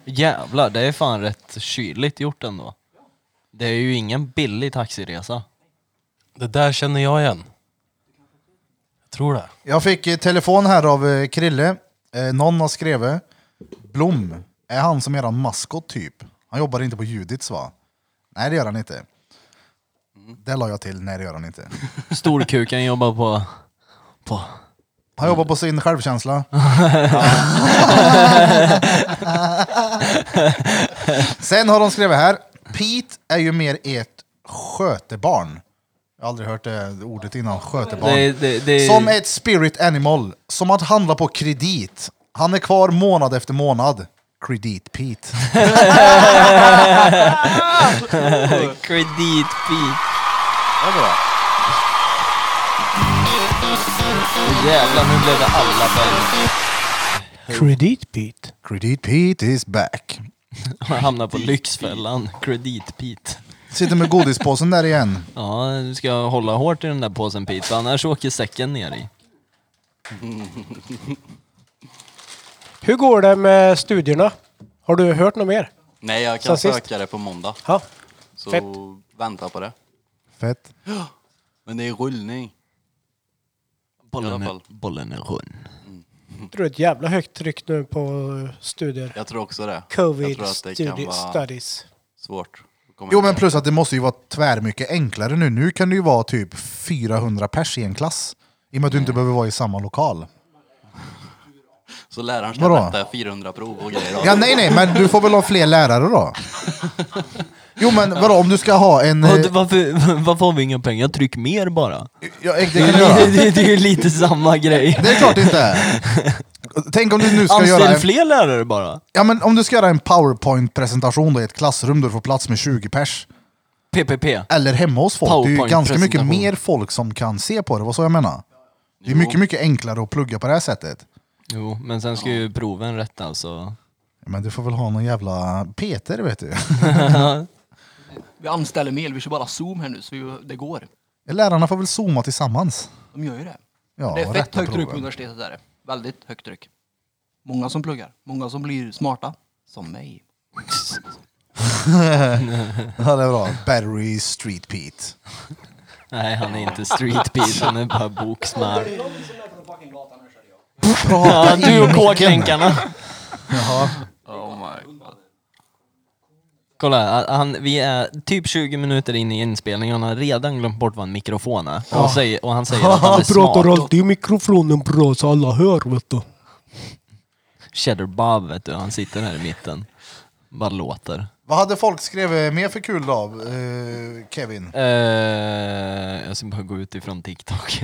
Jävlar, det är fan rätt kyligt gjort ändå. Det är ju ingen billig taxiresa.
Det där känner jag igen. Jag tror det.
Jag fick eh, telefon här av eh, Krille. Eh, någon har skrivit. Blom, är han som eran maskot typ? Han jobbar inte på Judits va? Nej det gör han inte. Det la jag till, nej det gör han inte.
Storkuken jobbar på... på...
Han jobbar på sin självkänsla. Sen har de skrivit här. Pete är ju mer ett skötebarn. Jag har aldrig hört det ordet innan, skötebarn.
Det, det, det,
Som ett spirit animal. Som att handla på kredit. Han är kvar månad efter månad. Kredit Pete.
Kreditbit. Åh, Jävlar, nu blev det alla pengar.
Credit Pete.
Kredit Pete is back.
Jag hamnar på Lyxfällan. Kreditbit.
Sitter med godispåsen där igen.
Ja, du ska hålla hårt i den där påsen Pete, annars åker säcken ner i.
Hur går det med studierna? Har du hört något mer?
Nej, jag
Sen
kan
sist.
söka det på måndag.
Ja.
Så
Fett.
vänta på det.
Fett.
Men det är rullning.
Bollen
I
är,
alla fall.
bollen är rund.
Jag tror det är ett jävla högt tryck nu på eh, studier.
Jag tror också det. jag
Covid
tror att det kan
studi-
vara
studies.
svårt. att komma
Jo
in i
men
det.
plus att det måste ju vara tvärmycket enklare nu. Nu kan det ju vara typ 400 pers i en klass. I och med att du inte behöver vara i samma lokal.
Så läraren
Vadå?
ska rätta 400 prov och grejer.
Ja nej nej, men du får väl ha fler lärare då? Jo men vadå, om du ska ha en... eh,
Vad- Varför, varför har vi inga pengar? Tryck mer bara.
Ja, det kan du göra.
det, det är ju lite samma grej.
Det är klart det inte är. Tänk om du nu ska göra
Anställ
en...
fler lärare bara.
Ja men om du ska göra en powerpoint-presentation då i ett klassrum där du får plats med 20 pers.
PPP.
Eller hemma hos folk. Det är ju ganska mycket
PowerPoint-presentation.
mer folk som kan se på det, vad så jag menar. Det är mycket, mycket enklare att plugga på det här sättet.
Jo, men sen ska ju proven alltså. rättas och...
Men du får väl ha någon jävla Peter vet du.
Vi anställer mer, vi kör bara zoom här nu så vi, det går.
Lärarna får väl zooma tillsammans.
De gör ju det.
Ja,
det är
och
fett
rätta
högt tryck på
proven.
universitetet där. Väldigt högt tryck. Många som pluggar, många som blir smarta. Som mig.
Ja, det är bra. Battery Street Pete.
Nej, han är inte street Pete, han är bara boksmart.
Prata
Du
i
och
micken.
kåklänkarna.
Jaha.
Oh my god.
Kolla, han, vi är typ 20 minuter in i inspelningen och han har redan glömt bort vad en mikrofon är. Och, säger, och han säger att han är smart.
alltid i mikrofonen bra så alla hör vet du.
Cheddar Bob vet du, han sitter här i mitten. Bara låter.
Vad hade folk skrivit mer för kul då, eh, Kevin?
Eh, jag ska bara gå ut ifrån TikTok.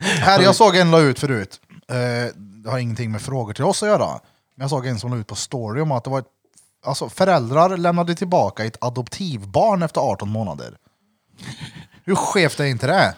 Här, jag såg en la ut förut. Eh, det har ingenting med frågor till oss att göra. Men jag såg en som la ut på story om att det var ett, alltså, föräldrar lämnade tillbaka ett adoptivbarn efter 18 månader. Hur skevt är inte det?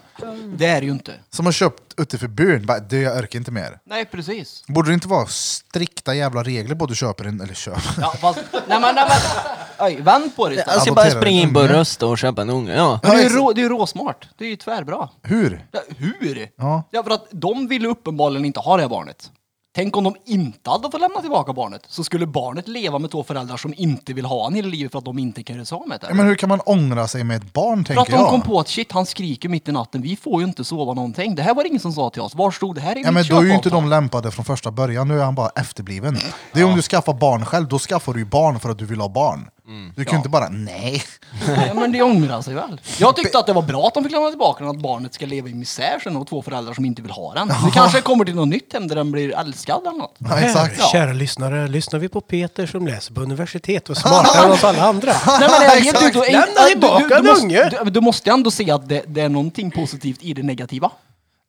Det är det ju inte.
Som har köpt utifrån byn. Bara, Du, jag orkar inte mer.
Nej, precis.
Borde det inte vara strikta jävla regler på att du köper en, eller köper?
Ja, fast, nej, men, nej, men, oj, vänd på det istället.
Jag ska bara springa in på Röst och köpa en unge. Ja.
Men det är ju rå, det är ju råsmart. Det är ju tvärbra.
Hur?
Ja, hur?
Ja.
Ja, för att de ville uppenbarligen inte ha det här barnet. Tänk om de inte hade fått lämna tillbaka barnet. Så skulle barnet leva med två föräldrar som inte vill ha en i livet för att de inte kan göra sig av med det.
Ja, men hur kan man ångra sig med ett barn,
För att
tänker
de
jag?
kom på att shit, han skriker mitt i natten, vi får ju inte sova någonting. Det här var det ingen som sa till oss. Var stod det här i
Ja,
mitt
men då är ju inte
köpavtal?
de lämpade från första början, nu är han bara efterbliven. Det är om du skaffar barn själv, då skaffar du ju barn för att du vill ha barn. Du kan ju inte bara, nej.
Nej, men det ångrar sig väl. Jag tyckte att det var bra att de fick lämna tillbaka den, att barnet ska leva i misär sen och två föräldrar som inte vill ha den. Det kanske kommer till något nytt hem där den blir älskad eller något.
Ja, exakt.
Ja.
Kära lyssnare, lyssnar vi på Peter som läser på universitet och är smartare än oss alla andra?
Nej, men jag vet inte,
Lämna
du- du-
tillbaka
du,
den
du,
unge.
måste, du, du måste ändå se att det, det är någonting positivt i det negativa.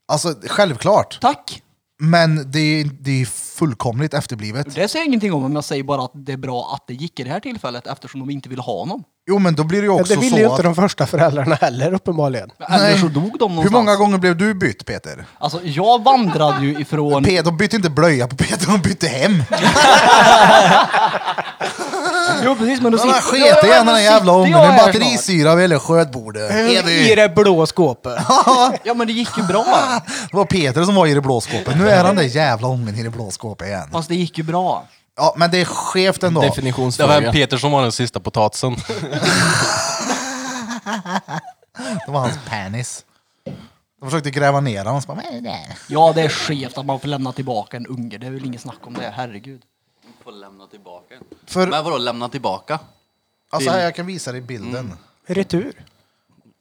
Alltså, självklart.
Tack!
Men det, det är fullkomligt efterblivet.
Det säger jag ingenting om, men jag säger bara att det är bra att det gick i det här tillfället eftersom de inte ville ha honom.
Jo men då blir det ju
Ja,
också
det ville ju
så
inte
att...
de första föräldrarna heller uppenbarligen.
Eller så dog de någonstans.
Hur många gånger blev du bytt Peter?
Alltså, jag vandrade ju ifrån...
Pe- de bytte inte blöja på Peter, de bytte hem.
Jo, precis, men då
De har
sitter-
sket igen den här jävla ungen.
jag
En
här
batterisyra vid hela skötbordet.
I det blå skåpet.
snart. Ja, men det gick ju bra.
Det var Peter som var i det blå skåpet. Nu är han den jävla ungen i det blå skåpet igen.
Fast det gick ju bra.
Ja, men det är skevt ändå.
Det
Definitionsfråga.
var Peter som var den sista potatisen.
Det var hans penis. De försökte gräva ner honom. Så bara, "Nej, nej."
Ja, det är skevt att man får lämna tillbaka en unge. Det är väl inget snack om det, herregud.
Får lämna tillbaka den.
För-
Men vadå lämna tillbaka?
Alltså, här, jag kan visa dig bilden.
Retur.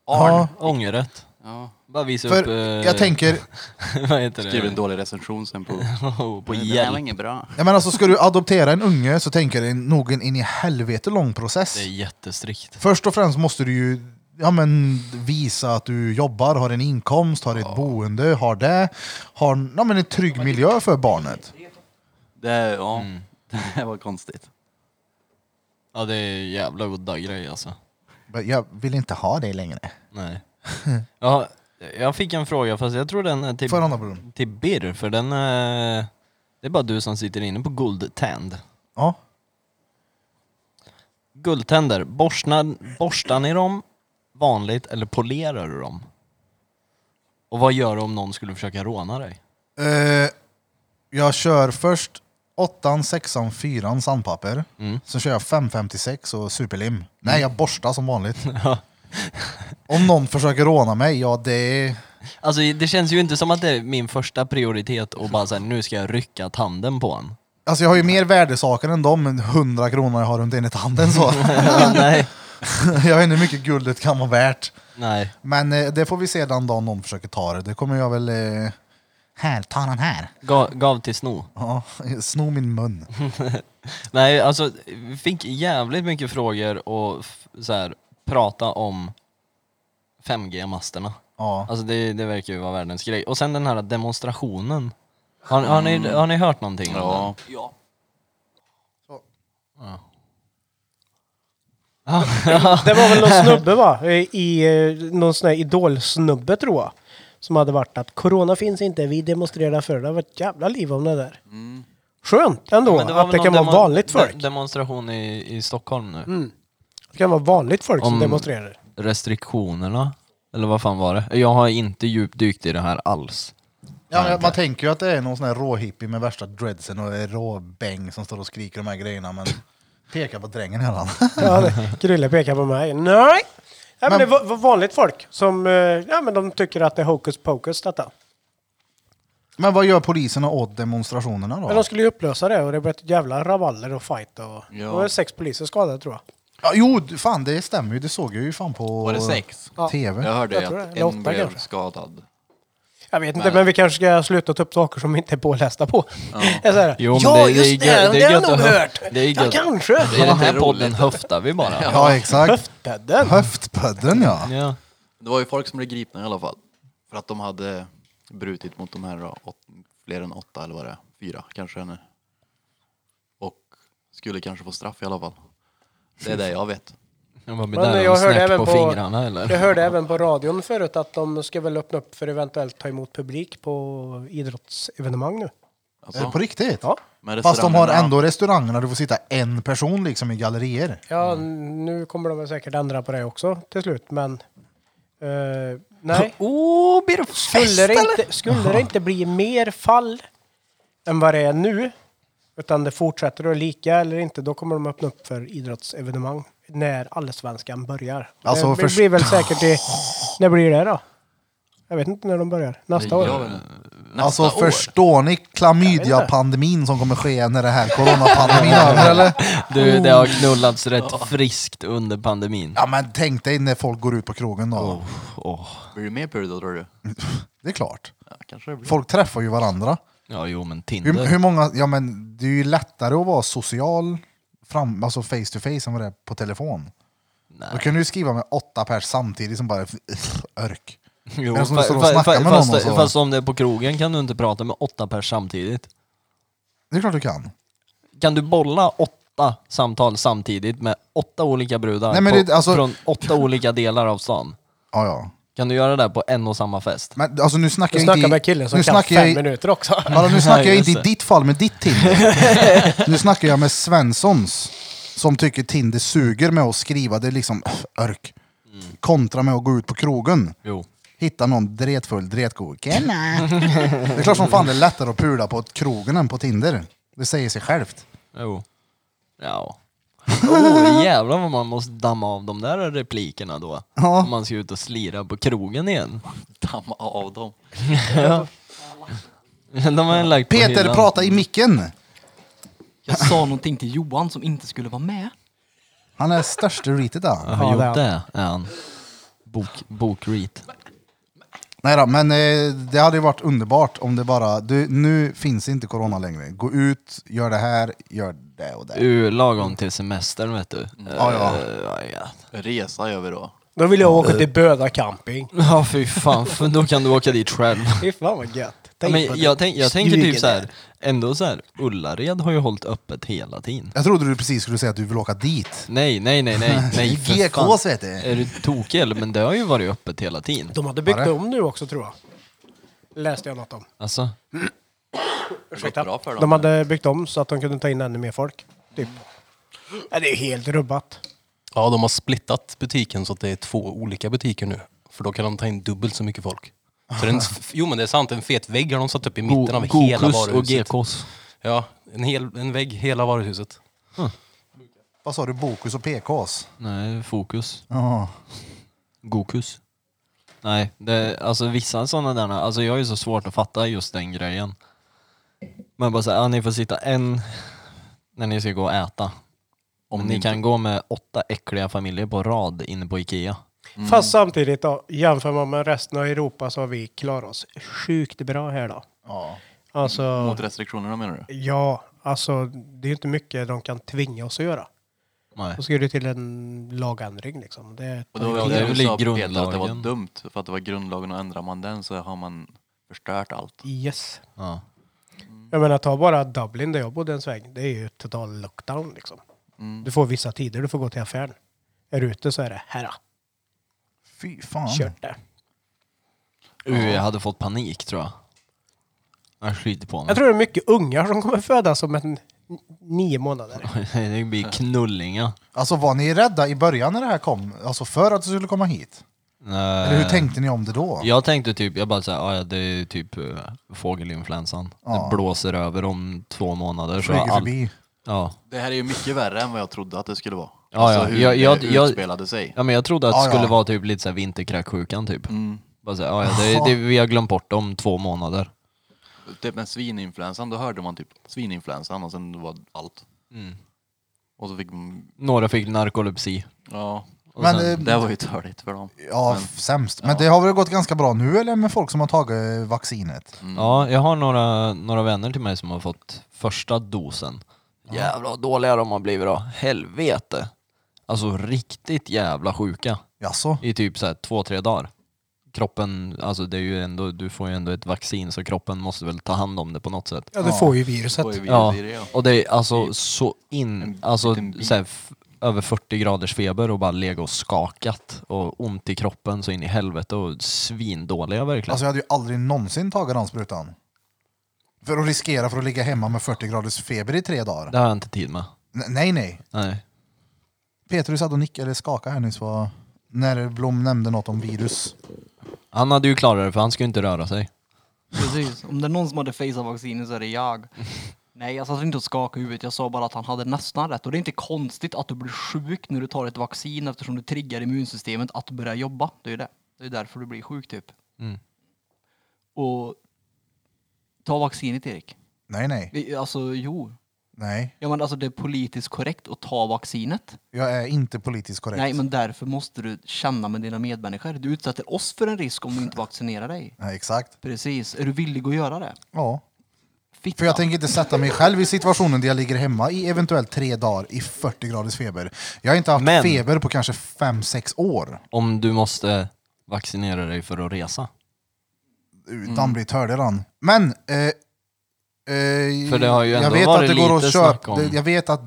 Arn?
Ångerrätt.
Ja.
Bara visa upp...
För
eh,
jag tänker,
vad heter det?
Skriv en dålig recension sen på...
Oh, på
Det där var
hjälp.
inget bra.
jag menar, så alltså, ska du adoptera en unge så tänker det nog en in i helvete lång process.
Det är jättestrikt.
Först och främst måste du ju ja, men, visa att du jobbar, har en inkomst, har ett boende, har det. Har ja, men, en trygg miljö för barnet.
Det, ja. det här var konstigt.
Ja det är jävla udda grej alltså.
Men jag vill inte ha det längre.
Nej. ja, jag fick en fråga fast jag tror den är till,
Får jag en annan bror?
till Birr för den är... Det är bara du som sitter inne på guldtänd.
Ja.
Guldtänder, borstar, borstar ni dem vanligt eller polerar du dem? Och vad gör du om någon skulle försöka råna dig?
Eh, jag kör först 8, 6, 4 sandpapper. Sen kör jag 556 och superlim. Nej, jag borstar som vanligt. Om någon försöker råna mig, ja det är...
Alltså det känns ju inte som att det är min första prioritet och bara såhär, nu ska jag rycka tanden på honom.
Alltså jag har ju mer värdesaker än de 100 kronor jag har runt enligt handen så.
Nej.
jag vet inte hur mycket guldet kan vara värt.
Nej.
Men eh, det får vi se den dagen någon försöker ta det. Det kommer jag väl... Eh... Här, ta den här.
Gav, gav till sno.
Ja, sno min mun.
Nej, alltså vi fick jävligt mycket frågor och f- så här, prata om 5G-masterna.
Ja.
Alltså det, det verkar ju vara världens grej. Och sen den här demonstrationen. Har, har, ni, har ni hört någonting? om den?
Ja.
Ja.
Det var väl någon snubbe va? I, i eh, någon sån här idolsnubbe tror jag. Som hade varit att corona finns inte, vi demonstrerar för det. Det var ett jävla liv om det där. Skönt ändå
Mm. Men var
att
väl
det
någon
kan vara
demo-
vanligt folk.
de- Demonstration i, i Stockholm
Mm.
nu.
Det kan vara vanligt folk som
Om-
demonstrerar.
Restriktionerna. Eller vad fan var det? Jag har inte djupdykt i det här alls.
Ja, men man tänker ju att det är någon sån här råhippie med värsta dreadsen och råbäng som står och skriker de här grejerna, men pekar på drängen hela tiden.
Ja, det- Krille pekar på mig. Nej! Ja,
Men-
men, det var var vanligt folk som eh, ja, men de tycker att det är hokus pokus detta.
Men vad gör poliserna åt demonstrationerna
Men de
då?
skulle ju upplösa det och det blev ett jävla raballer och fight och...
Ja.
Det var sex poliser skadade tror jag.
Ja, jo, fan det stämmer ju. Det såg jag ju fan på
Var det sex?
tv.
Jag hörde
Jag tror det.
att
Eller
en
åtta
blev
kanske.
skadad.
Jag vet inte, men vi kanske ska sluta ta upp saker som vi inte är pålästa på. Det är så här,
Jo, men
ja,
det- det är
just det,
gö- det
det,
är gött
har jag nog
att hö-
hört.
det är
ja,
gött.
kanske.
I den här
roligt.
podden höftar vi bara.
Ja, exakt.
Höftpedden.
Höftpudden ja.
Ja.
Det var ju folk som blev gripna i alla fall. För att de hade brutit mot de här då, åt, fler än åtta eller vad det är, fyra kanske nu. Och skulle kanske få straff i alla fall. Det är det jag vet.
Jag var med
Men
där
jag
och
hörde
snäpp
även
på,
på-
fingrarna eller?
Jag hörde även på radion förut att de ska väl öppna upp för eventuellt ta emot publik på idrottsevenemang nu.
Är det
Alltså,
på riktigt?
Ja.
med
Fast de har
restaurangerna-
ändå restaurangerna, du får sitta en person liksom i gallerier.
Ja,
Mm.
nu kommer de väl säkert ändra på det också till slut, men... eh, nej.
Oh, blir det
Skulle det, inte, skulle det inte bli mer fall än vad det är nu, utan det fortsätter att lika eller inte, då kommer de öppna upp för idrottsevenemang när allsvenskan börjar.
Alltså,
det,
först-
blir väl säkert i... När blir det då? Jag vet inte när de börjar. Nästa
Jag vet
år?
inte.
Alltså förstår ni klamydia-pandemin som kommer ske när det här coronapandemin är över eller?
Du, det har knullats rätt friskt under pandemin.
Ja men tänk dig när folk går ut på krogen då.
Oh.
Åh.
Blir det mer purr då tror du?
Det är klart.
Ja, kanske det blir.
Folk träffar ju varandra.
Ja, jo men
Hur,
Tinder.
hur många, ja men det är ju lättare att vara social fram, alltså face to face än vad det är på telefon. Då kan du ju skriva med åtta pers samtidigt som bara örk.
Jo,
Men som du
fa-
står och
fa-
snackar
fa-
med
fast,
någon och så.
fast om det är på krogen kan du inte prata med åtta pers samtidigt.
Det är klart du kan.
Kan du bolla åtta samtal samtidigt med åtta olika brudar
Nej, men
på,
det- alltså-
från åtta olika delar av stan?
Ja, ja.
Kan du göra det där på en och samma fest?
Men alltså nu snackar
Jag
jag
snackar
inte... i-
med killen som
nu
kan
snackar
fem
jag i-
minuter också.
Alltså, nu snackar jag
Ja,
inte i
just det.
ditt fall med ditt Tinder. nu snackar jag med Svenssons. Som tycker Tinder suger med att skriva. Det är liksom öff, örk.
Mm.
Kontra med att gå ut på krogen.
Jo.
Hitta någon dretfull, dretgod kille. det är klart som fan det är lättare att pula på krogen än på Tinder. Det säger sig självt.
Jo. Ja. Oh, jävlar vad man måste damma av de där replikerna då.
Ja.
Om man ska ut och slira på krogen igen.
Damma av dem.
De har jag lagt på
Peter,
hyllan.
prata i micken!
Jag sa någonting till Johan som inte skulle vara med.
Han är största reatet
Jag
där.
har
Ja, det
gjort
har
det, är han. Bok, bokreat.
Nej då, men eh, det hade ju varit underbart om det bara, du, nu finns inte corona längre. Gå ut, gör det här, gör det och det.
Ur lagom till semestern vet du.
Ja, ja.
Eh, ja, ja.
Resa gör vi då.
Då vill jag åka till Böda camping.
Ja fy fan, för då kan du åka dit själv.
Fy fan vad gött.
Ja,
Tänk på
men
det.
jag, tänk, jag tänker typ
Smyger
så här,
där.
ändå så här, Ullared har ju hållit öppet hela tiden.
Jag trodde du precis skulle säga att du vill åka dit.
Nej, nej, nej, nej, nej för fan.
GKs vet du.
Är du tokig eller? Men det har ju varit öppet hela tiden.
De hade byggt
Var det?
om nu också tror jag. Läste jag något om.
Alltså,
Det har gått bra för dem.
De hade byggt om så att de kunde ta in ännu mer folk. Typ. Ja, det är ju helt rubbat.
Ja, de har splittat butiken så att det är två olika butiker nu. För då kan de ta in dubbelt så mycket folk. Så det är en, jo men det är sant, en fet vägg har de satt upp i mitten av
Go-
hela
Gokus och
varuhuset.
GKs.
ja, en, hel, en vägg hela varuhuset.
Vad sa du? Bokus och PKs?
Nej, Fokus.
Ja.
Gokus. Nej, det, alltså vissa sådana där, alltså jag är ju så svårt att fatta just den grejen. Man bara säger, ja ni får sitta en när ni ska gå och äta. Om ni kan gå med åtta äckliga familjer på rad inne på Ikea.
Mm.
Fast samtidigt då, jämför man med resten av Europa så har vi klarat oss sjukt bra här då.
ja.
Alltså,
Mot restriktionerna menar du?
ja, alltså det är inte mycket de kan tvinga oss att göra.
Nej.
Då ska det till en lagändring liksom. Det
Och då
Ja,
var
det är
det
väl
du
i
sa Peter att det var
grundlagen.
dumt, för att det var grundlagen och ändrar man den så har man förstört allt.
yes.
Ja.
Mm.
Jag menar, ta bara Dublin där jag bodde en sväng. Det är ju total lockdown liksom.
Mm.
Du får vissa tider, du får gå till affären. Är du ute så är det här,
Fy fan.
kört det.
Uh, jag hade fått panik tror jag. Jag skiter på mig.
Jag tror det är mycket ungar som kommer födas om en nio månader.
det blir knullinga.
Alltså var ni rädda i början när det här kom? Alltså för att du skulle komma hit? Eller hur
Eh,
tänkte ni om det då?
Jag tänkte typ, jag bara såhär, "Ah, ja det är ju typ eh, fågelinfluensan.
Ja.
Det blåser över om två månader. Så
Flyger
all-
förbi. Alltså,
Ja.
Det här är ju mycket värre än vad jag trodde att det skulle vara.
Ja,
alltså
ja.
hur
Jag- jag-
det
jag-
utspelade sig.
ja men jag trodde att
Ja,
det skulle
ja.
vara typ lite såhär vinterkräksjukan typ.
Mm.
Bara såhär, "Ah, ja det, det, vi har glömt bort om två månader.
Typ med svininfluensan, då hörde man typ svininfluensan och sen var allt.
Mm.
Och så fick man,
Några fick narkolepsi.
ja,
Och
Men,
sen,
eh,
det var ju törligt för dem.
Ja,
Men-
f- sämst. Men det har väl gått ganska bra nu eller med folk som har tagit eh, vaccinet?
Ja, jag har några, några vänner till mig som har fått första dosen. Jävlar vad dåliga de har blivit då. Helvete. Alltså riktigt jävla sjuka.
Jaså?
I typ så här två, tre dagar. Kroppen, alltså det är ju ändå, du får ju ändå ett vaccin så kroppen måste väl ta hand om det på något sätt.
Ja, du får ju viruset.
Och vi-
Ja,
vi- ja.
och det är alltså så in, alltså
liten bit.
så här, f- över 40 graders feber och bara lega och skakat och ont i kroppen så in i helvete och svindåliga verkligen.
Alltså jag hade ju aldrig någonsin tagit den sprutan. För att riskera för att ligga hemma med 40 graders feber i tre dagar.
det har jag inte tid med.
N- nej, nej.
Nej.
Petrus satt och nickade eller skakade här nyss var, när Blom nämnde något om virus.
Han hade ju klarat det för han skulle ju inte röra sig.
Precis. Om det är någon som hade faceat vaccinet så är det jag. Nej, jag satt inte och skakade huvudet. Jag sa bara att han hade nästan rätt. Och det är inte konstigt att du blir sjuk när du tar ett vaccin eftersom du triggar immunsystemet att börja jobba. Det är ju det. Det är därför du blir sjuk typ.
Mm.
Och ta vaccinet Erik.
Nej, nej,
Vi- Alltså jo.
nej.
Ja, men alltså det är politiskt korrekt att ta vaccinet.
Jag är inte politiskt korrekt.
Nej, men därför måste du känna med dina medmänniskor. Du utsätter oss för en risk om du inte vaccinerar dig.
Nej, exakt.
Precis. Är du villig att göra det?
Ja.
Fitta.
För jag tänker inte sätta mig själv i situationen där jag ligger hemma i eventuellt tre dagar i 40 graders feber. Jag har inte haft
Men-
feber på kanske 5-6 år.
Om du måste vaccinera dig för att resa. Mm.
Utan blir tördig han. Men... Eh, eh,
För det har ju ändå
jag vet
varit
att det går
lite
att
snack
köpa...
om-
det- Jag vet att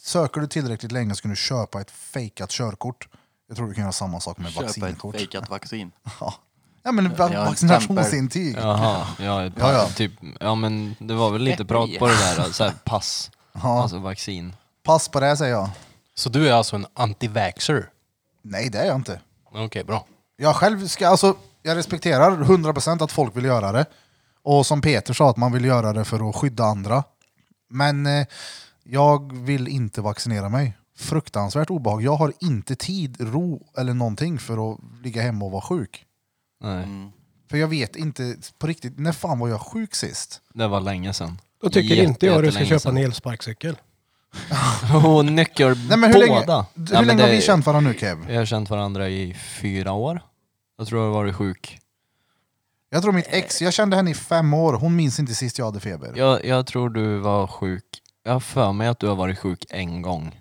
söker du tillräckligt länge så kan du köpa ett fejkat körkort. Jag tror du kan göra samma sak med
Köpa ett
vaccinkort.
fejkat vaccin.
Ja. ja men
har en
vaccinationsintyg.
Jaha, ja, ett
Ja,
par,
ja.
Typ, ja men det var väl lite prat på det där, så här, pass,
Ja.
alltså vaccin.
Pass på det här, säger jag.
Så du är alltså en anti-vaxxer?
Nej det är jag inte.
Okej, bra.
Jag själv ska, alltså, jag respekterar 100% att folk vill göra det. Och som Peter sa, att man vill göra det för att skydda andra. Men eh, jag vill inte vaccinera mig. Fruktansvärt obehag. Jag har inte tid, ro eller någonting för att ligga hemma och vara sjuk.
Nej,
För jag vet inte på riktigt, när fan var jag sjuk sist?
det var länge sedan.
Då tycker
Jätte-
inte jag du ska
jättelänge
köpa
sedan.
en elsparkcykel.
Och nyckelbåda.
Nej, men hur länge,
Ja,
hur
men
länge har vi
det-
känt varandra nu Kev?
Vi har känt varandra i fyra år. Jag tror jag har varit sjuk.
Jag tror mitt ex, jag kände henne i fem år, hon minns inte sist jag hade feber.
Jag, jag tror du var sjuk, jag har för mig att du har varit sjuk en gång.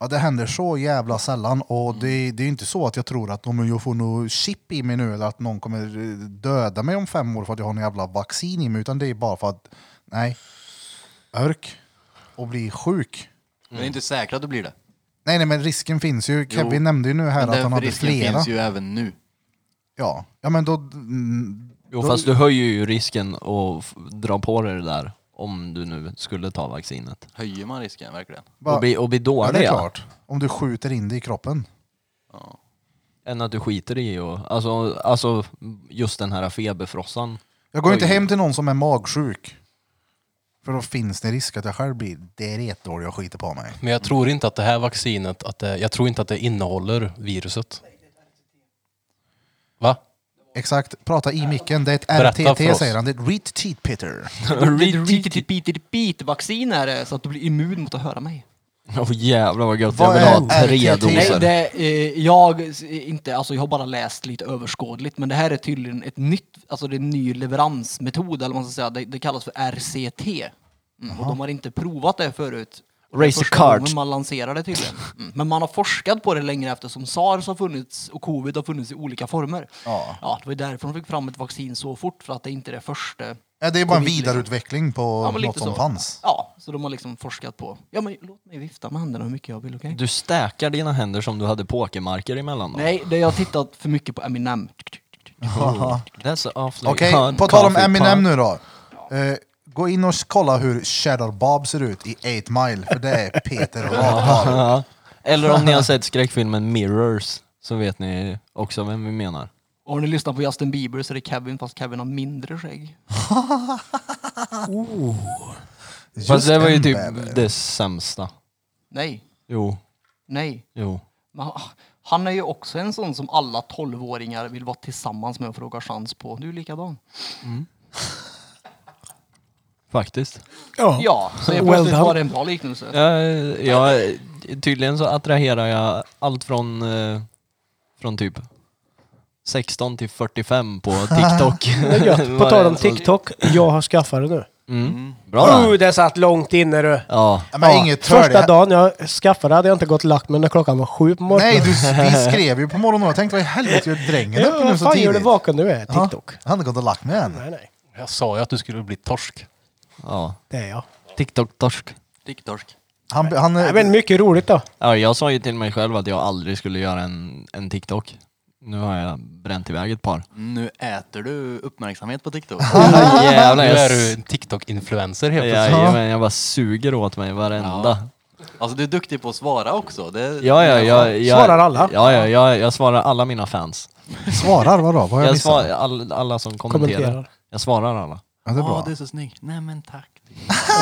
Ja, det händer så jävla sällan och
Mm.
det, det är ju inte så att jag tror att om jag får något chip i mig nu eller att någon kommer eh, döda mig om fem år för att jag har något jävla vaccin i mig utan det är bara för att, nej, örk och bli sjuk.
Mm. Men det är inte säkert att det blir det.
Nej, nej, men risken finns ju. Kevin nämnde ju nu här
Men
att han
den
hade
risken
flera.
finns ju även nu.
Ja. ja, men då... mm,
Jo
Då-
fast du höjer ju risken att f- dra på dig det där om du nu skulle ta vaccinet.
Höjer man risken verkligen?
bara-
Och bli, och bli
ja,
dålig.
det är klart. Om du skjuter in det i kroppen.
Än att du skiter i och, alltså, alltså just den här feberfrossan.
Jag går ju inte
Oj.
hem till någon som är magsjuk. För då finns det risk att jag själv blir diarrédålig och skiter på mig.
Men jag tror inte att det här vaccinet, att det, jag tror inte att det innehåller viruset. Va?
Exakt, prata i micken. Det är ett
Berätta för
RTT
oss.
säger han. Det är ett Reet Teat Pitter.
Vaccin är det, så att du blir immun mot att höra mig.
Åh jävlar vad gött, jag
Vad
vill
är
ha tre
RTT?
doser.
Sen.
Nej, det, eh, jag, s- inte, alltså, jag har bara läst lite överskådligt, men det här är tydligen ett nytt, alltså det är en ny leveransmetod, eller vad man ska säga. Det, det kallas för RCT. Mm, och de har inte provat det förut. Och det är
Race
första
card.
gången man lanserar det tydligen. Mm. Men man har forskat på det längre eftersom SARS har funnits och covid har funnits i olika former.
Ja.
det var ju därför de fick fram ett vaccin så fort, för att det inte är det första
Ja, det är bara en
Covid, liksom.
vidareutveckling på
Ja, men lite
något som
så.
fanns.
Ja, så de har liksom forskat på. Ja, men låt mig vifta med händerna hur mycket jag vill, okej?
Du stäkar dina händer som du hade pokermarker emellan då?
Nej, det jag har tittat för mycket på Eminem.
That's a awfully
Okej,
hard
på tal om
coffee
Eminem
pot.
nu då. Eh, gå in och kolla hur Cheddar Bob ser ut i 8 Mile, för det är Peter rakt av.
Ja. Eller om ni har sett skräckfilmen Mirrors så vet ni också vem vi menar.
Och om ni lyssnar på Justin Bieber så är det Kevin, fast Kevin har mindre skägg.
Fast
Just
det var ju
en
typ
bäver.
det sämsta.
Nej,
Jo,
nej.
jo.
Men ha- han är ju också en sån som alla tolvåringar vill vara tillsammans med och fråga chans på. Du är likadan.
Faktiskt.
Ja, så jag
Well
plötsligt
done.
var det en bra liknelse.
Jag, jag, tydligen så attraherar jag allt från, eh, från typ 16 till 45 på TikTok.
Mm.
Det är gött. På tal om TikTok, jag har skaffat det nu.
Mm. Bra
Oh,
där.
det satt långt inne du.
Ja.
Ja, men
Ja,
inget
första
törligt.
dagen jag skaffade det hade jag inte gått och lagt mig när klockan var sju på morgonen.
Nej, du, vi skrev ju på morgonen och jag tänkte vad i helvete gör drängen uppe
ja,
nu
Vad
så
fan gör du
tidigt?
vaken nu är?
Ja,
TikTok.
Jag hade gått och lagt mig än.
Nej, nej.
Jag sa ju att du skulle bli torsk.
ja.
Det är jag.
TikTok-torsk.
Dicktorsk.
Han, han,
Nej, men mycket roligt då.
Ja, jag sa ju till mig själv att jag aldrig skulle göra en, en TikTok. Nu har jag bränt iväg ett par.
Nu äter du uppmärksamhet på TikTok.
Oh, jävlar,
Nu
jag,
är du
s-
en TikTok-influencer helt plötsligt.
jajamän, jag bara suger åt mig varenda.
Alltså du är duktig på att svara också. Det,
Ja, ja, jag, jag,
Svarar alla?
Ja, ja jag, jag svarar alla mina fans.
svarar, vadå? Vad har jag
Jag
missat?
svarar all, alla som kommenterar.
Kommenterar.
Jag svarar alla.
Ja, det är
Ja,
bra.
du är så snygg. Nej men tack.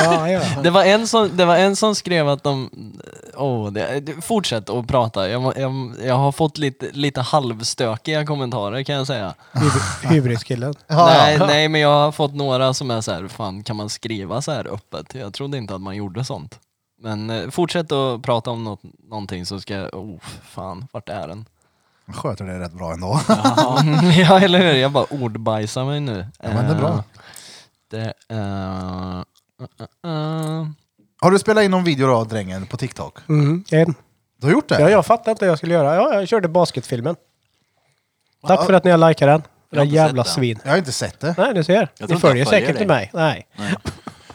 Ja, ja.
Det var en som, det var en som skrev att de... Åh, det, det- fortsätt att prata. Jag, må- jag, jag har fått lite, lite halvstökiga kommentarer kan jag säga.
Hybr- Hybriskillen.
Ja,
nej,
ja.
nej, men jag har fått några som är så här, fan kan man skriva så här öppet? Jag trodde inte att man gjorde sånt. Men eh, fortsätt att prata om något, någonting så ska jag, oh fan, vart är den?
Han sköter det rätt bra ändå.
ja, eller hur? Jag bara ordbajsar mig nu.
Ja, men det är bra.
Eh, Det, eh, eh, eh.
Har du spelat in någon video då, drängen, på TikTok?
Mm, en.
Du har gjort det?
Ja, jag fattade inte vad jag skulle göra. Ja, jag körde basketfilmen. Tack för att ni har likat den.
Jag
Era
har inte
jävla
sett den.
svin.
Jag har inte sett det.
Nej, du ser.
tror
Ni
inte jag
följer
följer
säkert
dig.
till mig. Nej.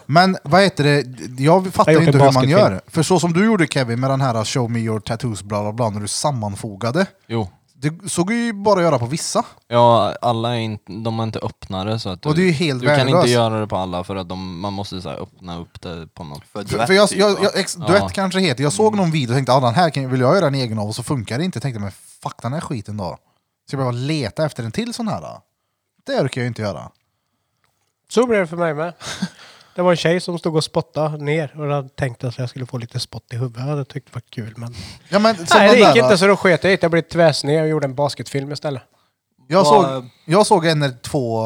Men vad heter det? Jag fattar
Jag har gjort
inte
en
hur man
basketfilm.
gör. För så som du gjorde Kevin med den här uh, show me your tattoos bla bla bla när du sammanfogade.
Jo.
Det såg ju bara att göra på vissa.
Ja, alla är inte, de är inte öppnare så att du,
Och det är ju helt
du kan inte
värdelöst.
göra det på alla för att de, man måste så här, öppna upp det på något.
För,
För,
duett
för jag,
typ,
jag,
va?
jag, ex, duett
Ja.
kanske det heter. Jag såg någon video och tänkte att den här kan, vill jag göra en egen av och så funkar det inte. Jag tänkte men fuck den här skiten då. Ska jag behöva leta efter en till sån här? Då? Det orkar jag ju inte göra.
Så blev det för mig med. Det var en tjej som stod och spottade ner och hade tänkt att jag skulle få lite spott i huvudet. Jag hade tyckt det var kul men...
Ja, men, som
Nej det
den
gick
där,
inte
då.
så då sket jag i det. Jag blev tvärsned och gjorde en basketfilm istället.
jag,
Vad-
såg, jag såg en eller två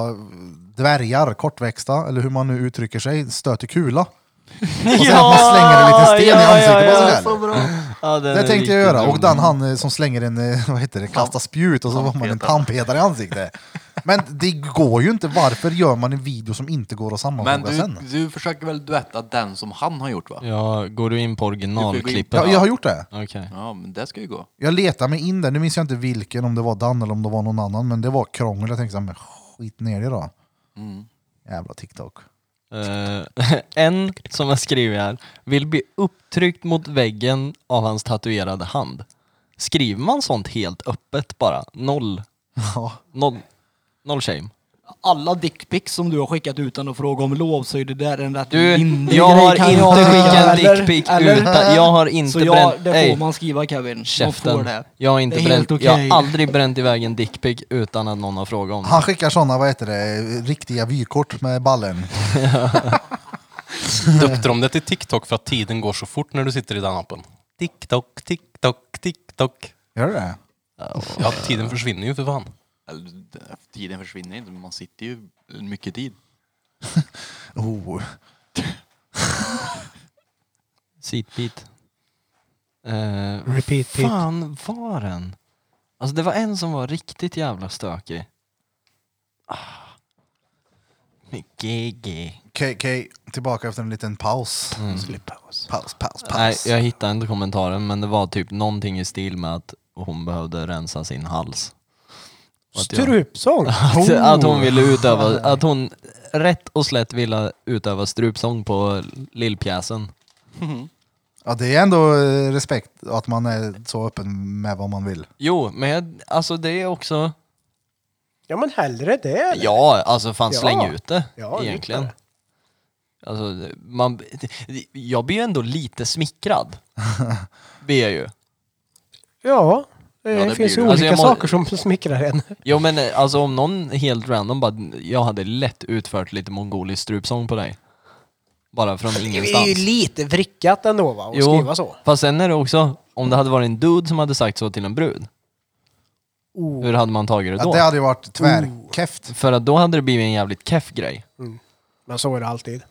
dvärgar, kortväxta, eller hur man nu uttrycker sig, stöter kula. Och sen att man slänger en liten sten i ansiktet på sig själv.
Ja,
Det tänkte jag göra. Och den han eh, som slänger en, eh, vad heter det, kastar spjut och så får man en tandpetare i ansiktet. Men det går ju inte. Varför gör man en video som inte går att
Men
sammanfoga
du,
sen?
du försöker väl duetta den som han har gjort va?
Ja, går du in på originalklippet?
Ja, jag har gjort det.
Okej.
Ja, men det ska ju gå.
Jag letade mig in där. Nu minns jag inte vilken, om det var Dan eller om det var någon annan. Men det var krångel. Jag tänkte såhär, men skit ner det då.
Mm.
Jävla TikTok.
Eh, en som har skrivit här, vill bli upptryckt mot väggen av hans tatuerade hand. Skriver man sånt helt öppet bara? Noll,
Ja.
noll, noll shame.
Alla dickpics som du har skickat utan att fråga om lov så är det där en rätt
Du,
lindrig
jag
grej,
har
kan
inte
jag tycka,
skickat
eller?
dickpic
Eller?
utan, jag har inte
Så ja,
bränt,
det får
ey,
man skriva Kevin. Man får
käften.
det.
Jag har, inte
Det är
bränt,
helt
jag
okej.
har aldrig bränt iväg en dickpic utan att någon har frågat om
Han
det.
skickar sådana, vad heter det, riktiga vykort med ballen.
Döpte de det till TikTok för att tiden går så fort när du sitter i den appen? TikTok, TikTok, TikTok.
Gör du det?
Ja, tiden försvinner ju för fan.
Eller, d- tiden försvinner inte, men man sitter ju mycket tid.
Oh.
Seatbeat. Eh,
Repeat peep.
fan var den? Alltså det var en som var riktigt jävla stökig. Ah. GG.
Okej, okej. Tillbaka efter en liten paus. Paus, paus,
Nej,
paus.
jag hittade inte kommentaren men det var typ någonting i stil med att hon behövde rensa sin hals. Och att jag-
Strupsång! Oh.
Att, att hon ville utöva, att hon rätt och slätt ville utöva strupsång på lillpjäsen.
Ja, det är ändå eh, respekt att man är så öppen med vad man vill.
Jo, men jag, alltså det är också,
Ja men hellre det. eller?
ja alltså fan
Ja.
släng ut det
Ja, det är
egentligen.
klart.
Alltså, man, jag blir ju ändå lite smickrad. Blir jag ju.
Ja. Det,
Ja,
finns
det blir
ju
det.
Alltså,
olika
jag må-
saker som smickrar en.
Jo men eh, alltså om någon helt random bara, jag hade lätt utfört lite mongolisk strupsång på dig. Bara från ingenstans.
lite vrickat ändå va? Att
Jo. Fast sen är det också, om det hade varit en dude som hade sagt så till en brud.
Oh.
Hur hade man tagit det
Ja,
då?
det hade ju varit tvärkeft.
För att då hade det blivit en jävligt keff grej.
Men så är det alltid.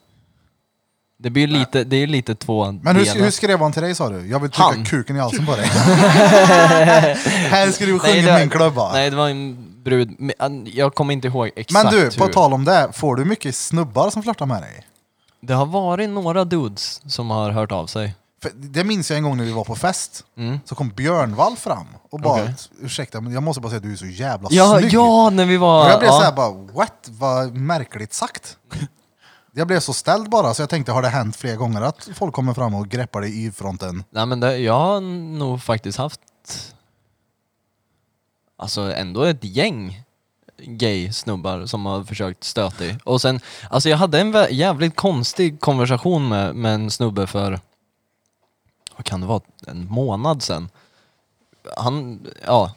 Det blir ju lite, det är ju lite två
Men hur,
delar.
hur skrev han till dig sa du? Jag vill trycka
Han.
kuken i halsen på dig. Här ska du
Nej,
sjunga
det-
min klubba.
Nej det var en brud, men, an- jag kommer inte ihåg exakt
Men du, på
hur.
tal om det, får du mycket snubbar som flörtar med dig?
Det har varit några dudes som har hört av sig.
För det minns jag en gång när vi var på fest,
Mm.
så kom Björnvall fram och bara
Okej.
ursäkta men jag måste bara säga att du är så jävla
Ja,
snygg.
ja, när vi var...
Och jag blev
ja.
såhär bara what, vad märkligt sagt. Jag blev så ställd bara så jag tänkte har det hänt fler gånger att folk kommer fram och greppar dig i fronten?
Nej men det, jag har nog faktiskt haft Alltså ändå ett gäng gay snubbar som har försökt stöta i. Och sen, alltså jag hade en vä- jävligt konstig konversation med, med en snubbe för, vad kan det vara, en månad sedan. Han, ja,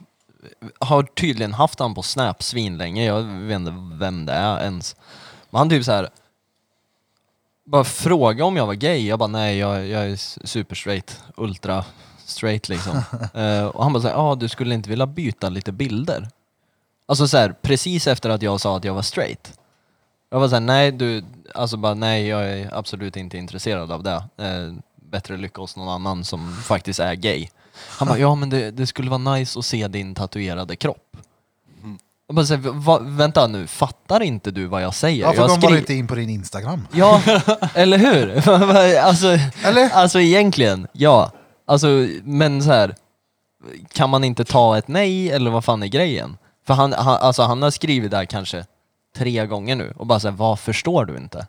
har tydligen haft han på Snap svinlänge, jag vet inte vem det är ens. Men han typ så här bara fråga om jag var gay. Jag bara nej, jag, jag är s- super straight, ultra straight liksom. Eh, och han bara såhär, ah, du skulle inte vilja byta lite bilder? Alltså såhär, precis efter att jag sa att jag var straight. Jag var såhär, nej du, alltså bara nej, jag är absolut inte intresserad av det. Eh, bättre lycka hos någon annan som faktiskt är gay. Han bara, ja men det, det skulle vara nice att se din tatuerade kropp. Jag bara, så här, va, vänta nu, fattar inte du vad jag säger?
Varför
jag
kom bara
skri-
inte in på din Instagram?
Ja, eller hur? alltså,
Eller?
alltså egentligen, ja. Alltså, men så här, kan man inte ta ett nej eller vad fan är grejen? För han, han, alltså, han har skrivit där kanske tre gånger nu och bara såhär, vad förstår du inte?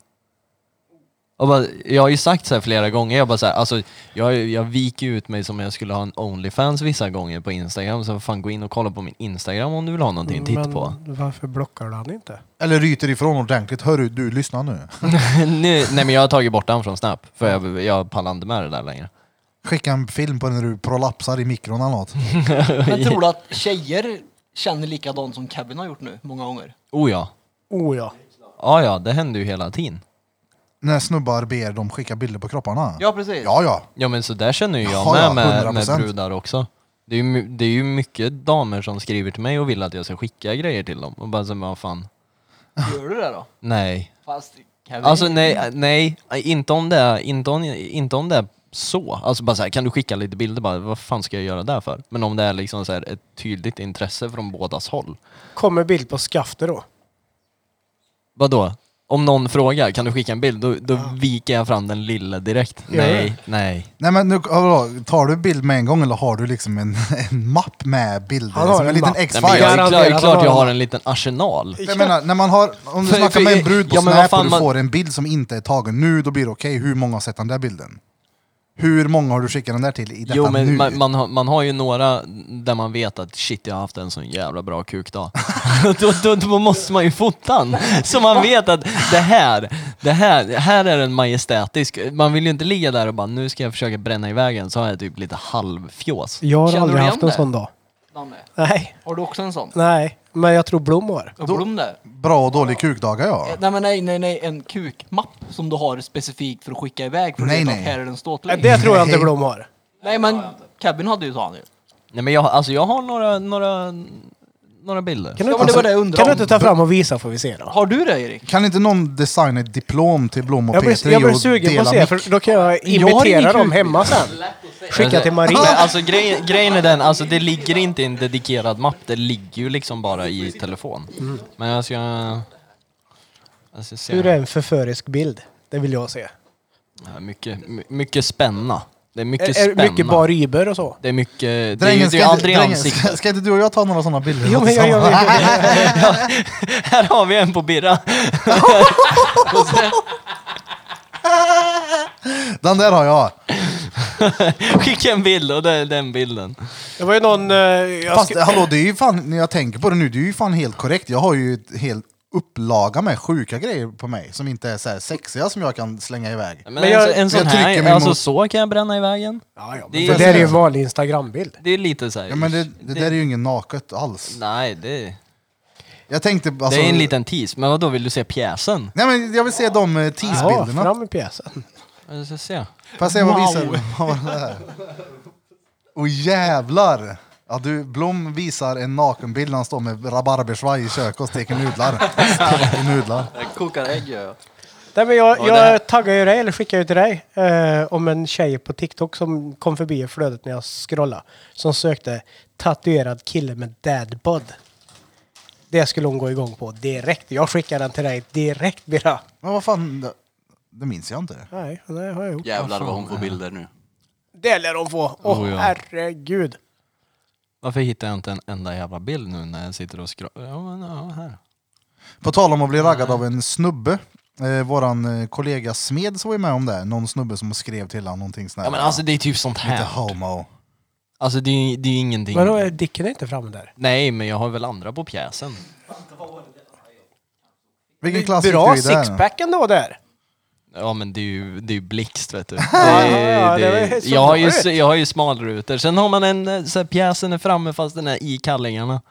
Och bara, jag har ju sagt så här flera gånger, jag bara så här, alltså, jag, jag viker ju ut mig som om jag skulle ha en Onlyfans vissa gånger på Instagram, så fan gå in och kolla på min Instagram om du vill ha någonting att titta
Men
på.
Varför blockar du han inte?
Eller ryter ifrån ordentligt. Hörru, du, lyssna nu.
nu, nej men jag har tagit bort den från Snap, för jag, jag pallar inte med det där längre.
Skicka en film på när du prolapsar i mikron eller något.
Men tror du att tjejer känner likadant som Kevin har gjort nu många gånger?
Oh ja.
Oh ja.
Ja, ja, det händer ju hela tiden.
När snubbar ber dem skicka bilder på kropparna.
Ja, precis.
ja. ja.
Ja men så där känner ju jag
Ja, ja,
med, med, med
100%.
brudar också. Det är, ju, my- det är ju mycket damer som skriver till mig och vill att jag ska skicka grejer till dem. Och bara så, men vad fan.
Gör du det då?
Nej.
Fast Kevin...
Alltså nej, nej, inte om det är, inte om, inte om det är så. Alltså bara så här, kan du skicka lite bilder bara, vad fan ska jag göra där för? Men om det är liksom så här ett tydligt intresse från bådas håll.
Kommer bild på skaftet då.
Vadå? Om någon frågar, kan du skicka en bild? Då, då viker jag fram den lilla direkt.
Ja.
Nej, nej.
Nej men nu, vadå, tar du bild med en gång eller har du liksom en, en mapp med bilder?
Han har
som en,
en
liten
mapp.
nej men
X-file?
jag, är klar,
Garanterat
jag är klart jag
har
har
de.
en liten arsenal.
Jag menar, när man har, om du
För-
snackar
för-
med en brud på
ja, men vad
Snap
fan,
och du
man-
får en bild som inte är tagen nu, då blir det okej. Hur många har sett den där bilden? Hur många har du skickat den där till i detta
Jo men
nu?
man, man, har, man har ju några där man vet att shit jag har haft en sån jävla bra kukdag. då, då, då måste man ju fota den. Så man vet att det här, det här, här är en majestätisk. Man vill ju inte ligga där och bara nu ska jag försöka bränna i vägen så har jag typ lite halvfjås.
Jag har
Känner du
aldrig
igen
haft en
det?
sån dag.
Danne,
Nej,
har du också en sån?
nej. Men jag tror Blom har.
Då... Blom det?
Bra och dålig kukdagar ja.
Eh, Nej, men nej, nej, nej, en kukmapp som du har specifikt för att skicka iväg för att
Nej,
veta
nej.
att här är den ståtlig.
Nej, det tror jag inte Blom har.
Nej, men Kevin hade ju sån ju.
Nej men jag, alltså, jag har några, några, några bilder.
Kan
Ja, men det var det jag
kan
undrade
du
om.
inte ta fram och visa får vi se då?
Har du det Erik?
Kan inte någon designa ett diplom till Blom och
Jag blir,
Petri
jag blir
och
sugen på att
dela
se
mick?
för då kan jag
har ingen
imitera
kuk.
dem hemma sen. Skicka till Marie.
Men alltså grejen, grejen är den, alltså det ligger inte i en dedikerad mapp, det ligger ju liksom bara i telefon.
Mm.
Men jag ska... alltså, Jag ska se.
Hur är en förförisk bild? Det vill jag se.
Ja, mycket, my- mycket spänna. Det är mycket
Är, är
spänna.
mycket bar Iber och så?
Det är mycket... Det är ju
Drängen,
det
ska,
är ju
inte,
aldrig
drängen
ansiktet.
ska, ska inte du och jag ta några sådana bilder?
Jo, men jag gör
tillsammans?
det.
Här har vi en på Birra.
Den där har jag.
Skicka en bild och det är den bilden.
Det var ju någon... eh, Jag
Fast
skri-
hallå, det är ju fan, när jag tänker på det nu, det är ju fan helt korrekt. Jag har ju ett helt upplaga med sjuka grejer på mig som inte är så här sexiga som jag kan slänga iväg.
Men,
Men jag-
en, en sån
jag
här,
trycker mig
alltså
mot-
så kan jag bränna i vägen.
Ja, ja,
Det
men
är-
det där är ju en vanlig Instagrambild.
Det är lite så här...
Ja, men det, det där är ju inget naket alls.
Nej, det,
Jag tänkte alltså,
det är en liten tease. Men då vill du se pjäsen?
Nej men jag vill se de eh,
Ja,
teasebilderna.
fram med pjäsen.
Alltså, Jag ska se.
Får jag se vad visar? Vad var det där? Åh jävlar! Ja, du, Blom visar en nakenbild när han står med rabarbersvaj i köket och steker nudlar. Steker nudlar.
Jag kokar ägg gör jag.
Nej, men jag,
det här-
jag taggar ju dig, eller skickar ju till dig, eh, om en tjej på TikTok som kom förbi i flödet när jag scrollade. Som sökte tatuerad kille med dadbod. Det skulle hon gå igång på direkt. Jag skickar den till dig direkt, Bira.
Men vad fan, det, det minns jag inte.
Nej, det har jag gjort.
Jävlar vad hon får bilder nu.
Det lär de få. Åh,
Oh, ja.
herregud.
Varför hittar jag inte en enda jävla bild nu när jag sitter och scrollar? Ja, men ja, här.
På tal om att bli raggad av en snubbe. Eh, våran eh, kollega Smed som var ju med om det. Någon snubbe som skrev till honom någonting sånt
Ja, men alltså det är typ sånt
Inte
här.
homo.
Alltså det är, det är ingenting.
Men då är Dicken inte framme där.
Nej, men jag har väl andra på pjäsen.
Vilken klass gick
Bra
du i där?
sixpack ändå där.
Ja men det är ju, det är ju blixt vet du. Det,
ja,
det,
det var ju så
jag, har ju,
dåligt.
s- jag har ju smalrutor. Sen har man en, eh, så här, pjäsen är framme fast den är i kallingarna.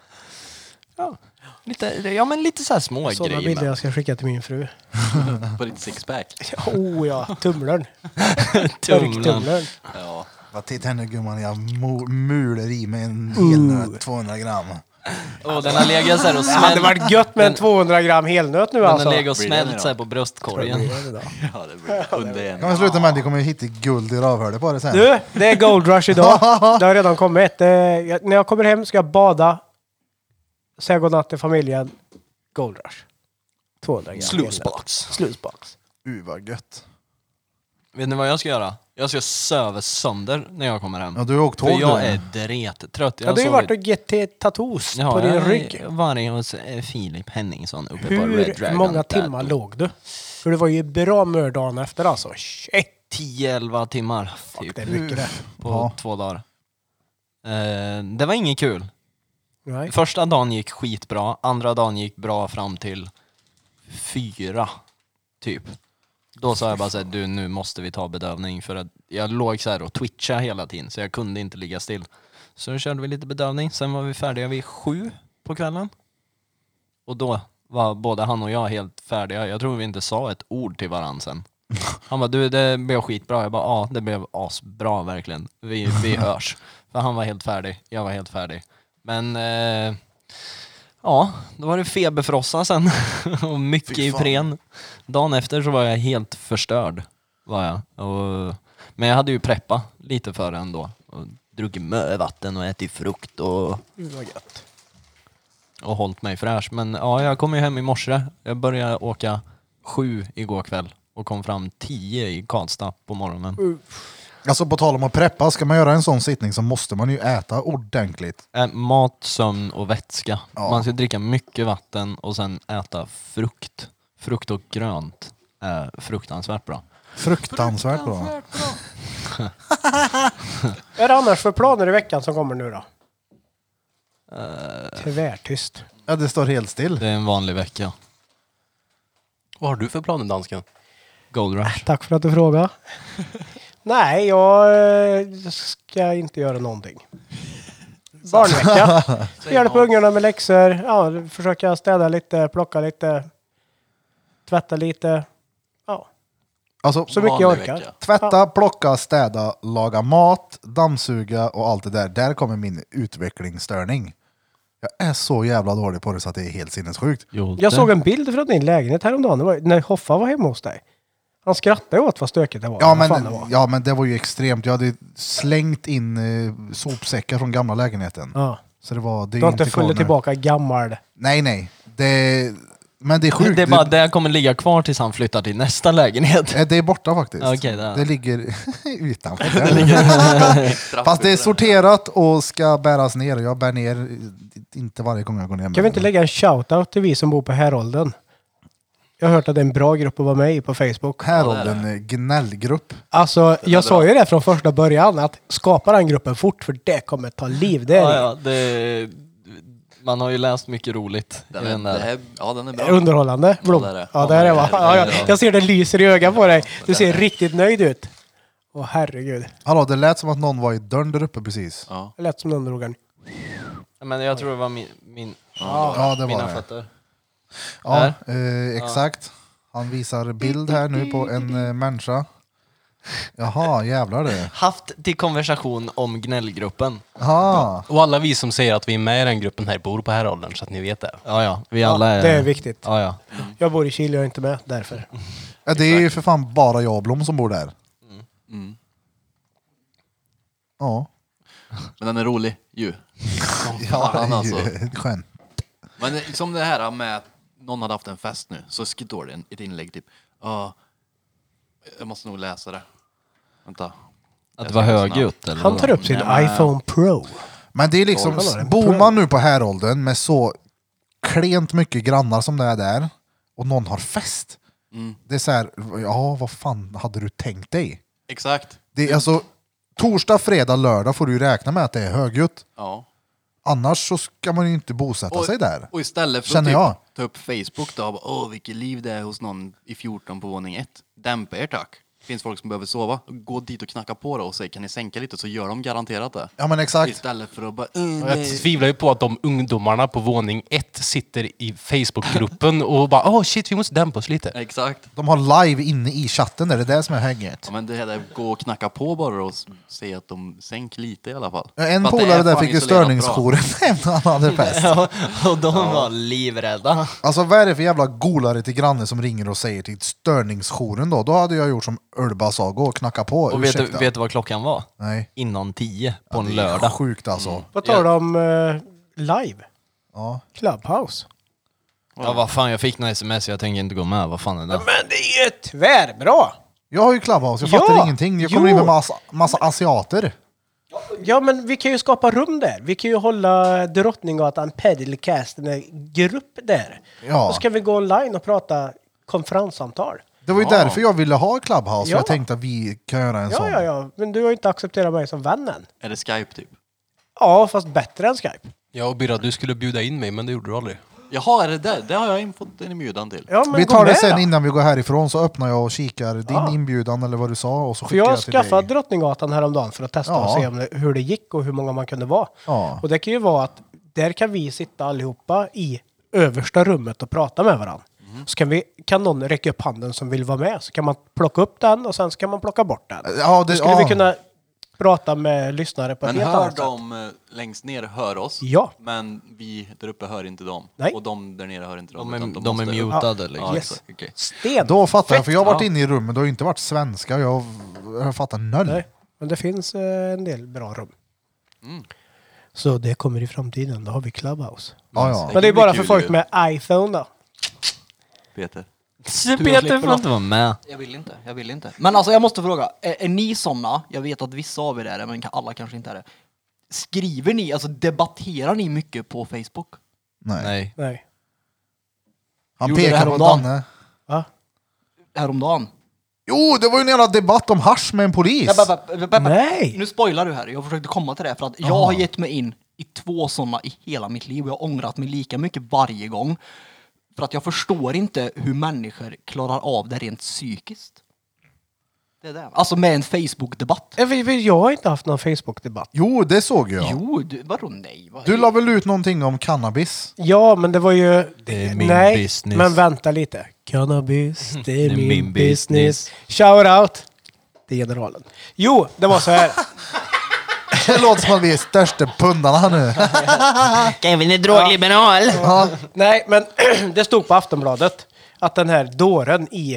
Ja, lite, ja men lite så här små
Sådana
grejer.
bilder
med.
jag ska skicka till min fru.
På ditt sixpack.
Oh ja, tumlaren.
Tumlen.
Turktumlaren.
Ja.
Vad, Titta här nu gumman, jag mo- muler i mig en helnöt, 200 gram.
Och den har legat så här och
Det hade
smält.
varit gött med en 200 gram helnöt nu
Den har
alltså.
legat och
Blir det
smält
då?
så här på bröstkorgen.
ja, det blir under
Kan
en.
vi sluta med att ni kommer hitta guld i rövhålet på det sen?
Du, det är Gold Rush idag. Det har redan kommit. Eh, jag, när jag kommer hem ska jag bada, säga godnatt till familjen. Gold Rush. 200 gram.
Sluicebox.
Slusbox.
Uh, vad gött.
Vet ni vad jag ska göra? Jag ska söva sönder när jag kommer hem.
Ja, du har åkt tåg
För jag
nu.
är drettrött. Jag
Ja, du har ju
sovit-
varit och gett tattoos
Ja,
på din
jag har
rygg.
varit hos eh, Filip Henningsson uppe på Red
Hur
Dragon.
många
där.
timmar låg du? För du var ju bra mör dagen efter alltså. Shit,
10-11 timmar typ,
det är mycket det.
på
Ja.
två dagar. Eh, det var inget kul.
Nej.
Första dagen gick skitbra, andra dagen gick bra fram till fyra, typ. Då sa jag bara såhär, du nu måste vi ta bedövning för att jag låg så här och twitchade hela tiden så jag kunde inte ligga still. Så då körde vi lite bedövning, sen var vi färdiga vid sju på kvällen. Och då var både han och jag helt färdiga, jag tror vi inte sa ett ord till varandra sen. Han bara, du det blev skitbra. Jag bara, ja det blev asbra verkligen. Vi, vi hörs. För han var helt färdig, jag var helt färdig. Men eh, ja, då var det feberfrossa sen och mycket
Fy fan.
Ipren. Dagen efter så var jag helt förstörd. Var jag. Och, men jag hade ju preppa lite för det ändå. Och druckit mövatten och ätit frukt och
Gud vad gött.
och hållit mig fräsch. Men ja, jag kom ju hem i morse. Jag började åka sju igår kväll och kom fram tio i Karlstad på morgonen.
Alltså på tal om att preppa, ska man göra en sån sittning så måste man ju äta ordentligt.
Äh, mat, sömn och vätska.
Ja.
Man ska dricka mycket vatten och sen äta frukt. Frukt och grönt är fruktansvärt bra.
Fruktansvärt bra.
Vad är det annars för planer i veckan som kommer nu då?
Eh.
Tvärtyst.
Ja, det står helt still.
Det är en vanlig vecka.
Vad har du för planer dansken?
Gold Rush.
Tack för att du frågade. Nej, jag eh, ska inte göra någonting. Barnvecka. Ska hjälpa ungarna med läxor. Ja, försöka städa lite, plocka lite, tvätta lite. Ja,
Alltså,
så mycket jag
Vanlig
orkar.
vecka.
tvätta, plocka, städa, laga mat, dammsuga och allt det där. Där kommer min utvecklingsstörning. Jag är så jävla dålig på det så att det är helt sinnessjukt.
Jo,
Jag
det-
såg en bild från din lägenhet häromdagen. Det var, när Hoffa var hemma hos dig. Han skrattade åt vad stökigt det var.
Ja
Vad
men,
fan det var.
ja men det var ju extremt. Jag hade ju slängt in eh, sopsäckar från gamla lägenheten.
Ja.
Så det var... Det är
Du har inte
kvar nu.
följt tillbaka gammal.
Nej nej. Det, men det är sjukt.
Det är bara det kommer ligga kvar tills han flyttar till nästa lägenhet.
Eh, Det är borta faktiskt.
Okej, där.
Det ligger utanför. det Fast det är sorterat och ska bäras ner. Jag bär ner eh, inte varje gång jag går ner. med
Kan vi inte
den.
lägga en shout-out till vi som bor på Härolden? Jag har hört att det är en bra grupp att vara med i på Facebook.
Här har den eh, gnällgrupp.
Alltså, jag sa ju det från första början, att skapa den gruppen fort, för det kommer ta liv. Det är
Ja, ja, det, man har ju läst mycket roligt i
Den
den
är, det
där.
här, ja, den är bra.
underhållande. Blom.
det är det.
Ja, det är det va? Ja, ja. Jag ser det lyser i ögat på dig. Du
det
ser
är det.
riktigt nöjd ut. Åh herregud.
Hallå, det lät som att någon var i dörren där uppe precis.
Ja,
Det lät som någon drog en
Men jag tror det var min, min,
Ja, det
mina
var det.
fötter.
Ja, eh, exakt. Han visar bild här nu på en eh, människa. Jaha, jävlar du.
haft till konversation om gnällgruppen.
Jaha.
Och alla vi som säger att vi är med i den gruppen här bor på Härolden så att ni vet det.
Ja, ja, vi alla är...
Det är viktigt.
Ja, ja.
Jag bor i Chile, jag är inte med därför.
Ja, det är ju för fan bara jag och Blom som bor där.
mm.
Ja.
Men den är rolig ju.
Ja,
fan,
det är
alltså.
ju ett skämt.
Men det- som det här med att någon hade haft en fest nu, så sk- står det en- ett inlägg typ. Ja, jag måste nog läsa det. Vänta.
Att det
Jag
var
ska lyssna.
högljutt eller?
Han tar upp sin
Nej, men-
iPhone Pro.
Men det är liksom,
Kolla där.
bor man nu på häråldern med så klent mycket grannar som det är där och någon har fest.
Mm.
Det är så här, ja vad fan hade du tänkt dig?
Exakt.
Det är alltså, torsdag, fredag, lördag får du ju räkna med att det är högljutt.
Ja.
Annars så ska man ju inte bosätta sig där.
Och istället för
Känner jag.
att typ, ta upp Facebook då, och bara, åh vilket liv det är hos någon i 14 på våning 1. Dämpa er tack. Finns folk som behöver sova. Gå dit och knacka på då och säg kan ni sänka lite så gör de garanterat det.
Ja men exakt.
Istället för att bara, "Eh,
Jag
nej."
tvivlar ju på att de ungdomarna på våning ett sitter i Facebookgruppen och bara åh shit vi måste dämpa oss lite.
Exakt.
De har live inne i chatten, där. det är det som är hänget.
Ja, men det här där, gå och knacka på bara och s- se att de sänk lite i alla fall.
Ja, En
För att det
polare
är
där
fan
fick ju
isolerat bra.
störningsjouren när han hade fest.
Ja, och de var livrädda.
Alltså vad är det för jävla golare till grannen som ringer och säger till störningsjouren då? Då hade jag gjort som Ölba sa, gå och knacka på.
Och vet du,
ursäkta.
vet du vad klockan var?
Nej.
Innan tio på
Det
en
är
lördag.
Sjukt alltså.
Vad tar de om eh, live?
Ja.
Clubhouse.
Ja, vad fan, jag fick några sms, jag tänker inte gå med. Vad fan är det?
Men det är ju tvärbra!
Jag har ju Clubhouse, jag
Ja!
fattar ingenting. Jag kommer
Jo!
in med massa, massa asiater.
Ja, men vi kan ju skapa rum där. Vi kan ju hålla Drottninggatan Paddlecast, en grupp där.
Ja.
Och så kan vi gå online och prata konferenssamtal.
Det var ju därför jag ville ha Clubhouse,
Ja.
för jag tänkte att vi kan göra en
Ja,
sån.
ja, ja. Men du har ju inte accepterat mig som vän än.
Är det Skype typ?
Ja, fast bättre än Skype.
Ja, och Birra, du skulle bjuda in mig, men det gjorde du aldrig.
Jaha, är det där? Det har jag in- fått en inbjudan till.
Ja, men
Vi
gå
tar det
med
sen
då.
innan vi går härifrån så öppnar jag och kikar din
Ja.
inbjudan eller vad du sa och så
För
skickar jag,
jag
till
skaffade
dig.
Drottninggatan häromdagen för att testa
Ja.
och se om det, hur det gick och hur många man kunde vara.
Ja.
Och det kan ju vara att där kan vi sitta allihopa i översta rummet och prata med varandra.
Mm.
Så kan, vi, kan någon räcka upp handen som vill vara med så kan man plocka upp den och sen så kan man plocka bort den.
Ja, det,
Då skulle
ja.
vi kunna prata med lyssnare på ett
Men
helt
hör
annat sätt.
de eh, längst ner hör oss,
Ja.
men vi där uppe hör inte dem.
Nej.
Och de där nere hör inte dem.
De är-
utan
de är
måste upp.
mutade, liksom.
Ja,
Yes.
exakt, okej.
Sten!
Då fattar jag, för jag har varit
Ja.
inne i rummen, det har ju inte varit svenska. Jag, jag fattar noll.
Nej, men det finns eh, en del bra rum.
Mm.
Så det kommer i framtiden, då har vi Clubhouse.
Ja, ja.
Men det är
bli
bara
kul
för folk
ju.
med iPhone då.
Peter.
Peter får inte vara med.
Jag vill inte, jag vill inte. Men alltså jag måste fråga, är, är ni sådana, jag vet att vissa av er är det, men ka- alla kanske inte är det. Skriver ni, alltså debatterar ni mycket på Facebook?
Nej.
Nej.
Nej.
Han
Gjorde det
pekar på
häromdagen.
Danne.
Va?
Häromdagen?
Jo, det var ju en jävla debatt om hasch med en polis.
Nej, ba- ba- ba- ba- ba-
Nej.
Nu spoilar du här, jag försökte komma till det för att jag har gett mig in i två sådana i hela mitt liv och jag har ångrat mig lika mycket varje gång. För att jag förstår inte hur människor klarar av det rent psykiskt. Det är det. Alltså med en Facebook-debatt.
Eh, vi- vi- Jag har inte haft någon Facebook-debatt.
Jo, det såg jag.
Jo, du, vadå nej? Vad
Du la väl ut någonting om cannabis?
Ja, men det var ju...
Det är min
Nej,
business.
men vänta lite. Cannabis, Mhm. det är min,
min
business.
business.
Shout out till generalen. Jo, det var så här.
Det låter som att vi är största pundarna nu.
Kevin är drogliberal.
Ja.
Nej, men det stod på Aftonbladet att den här dåren i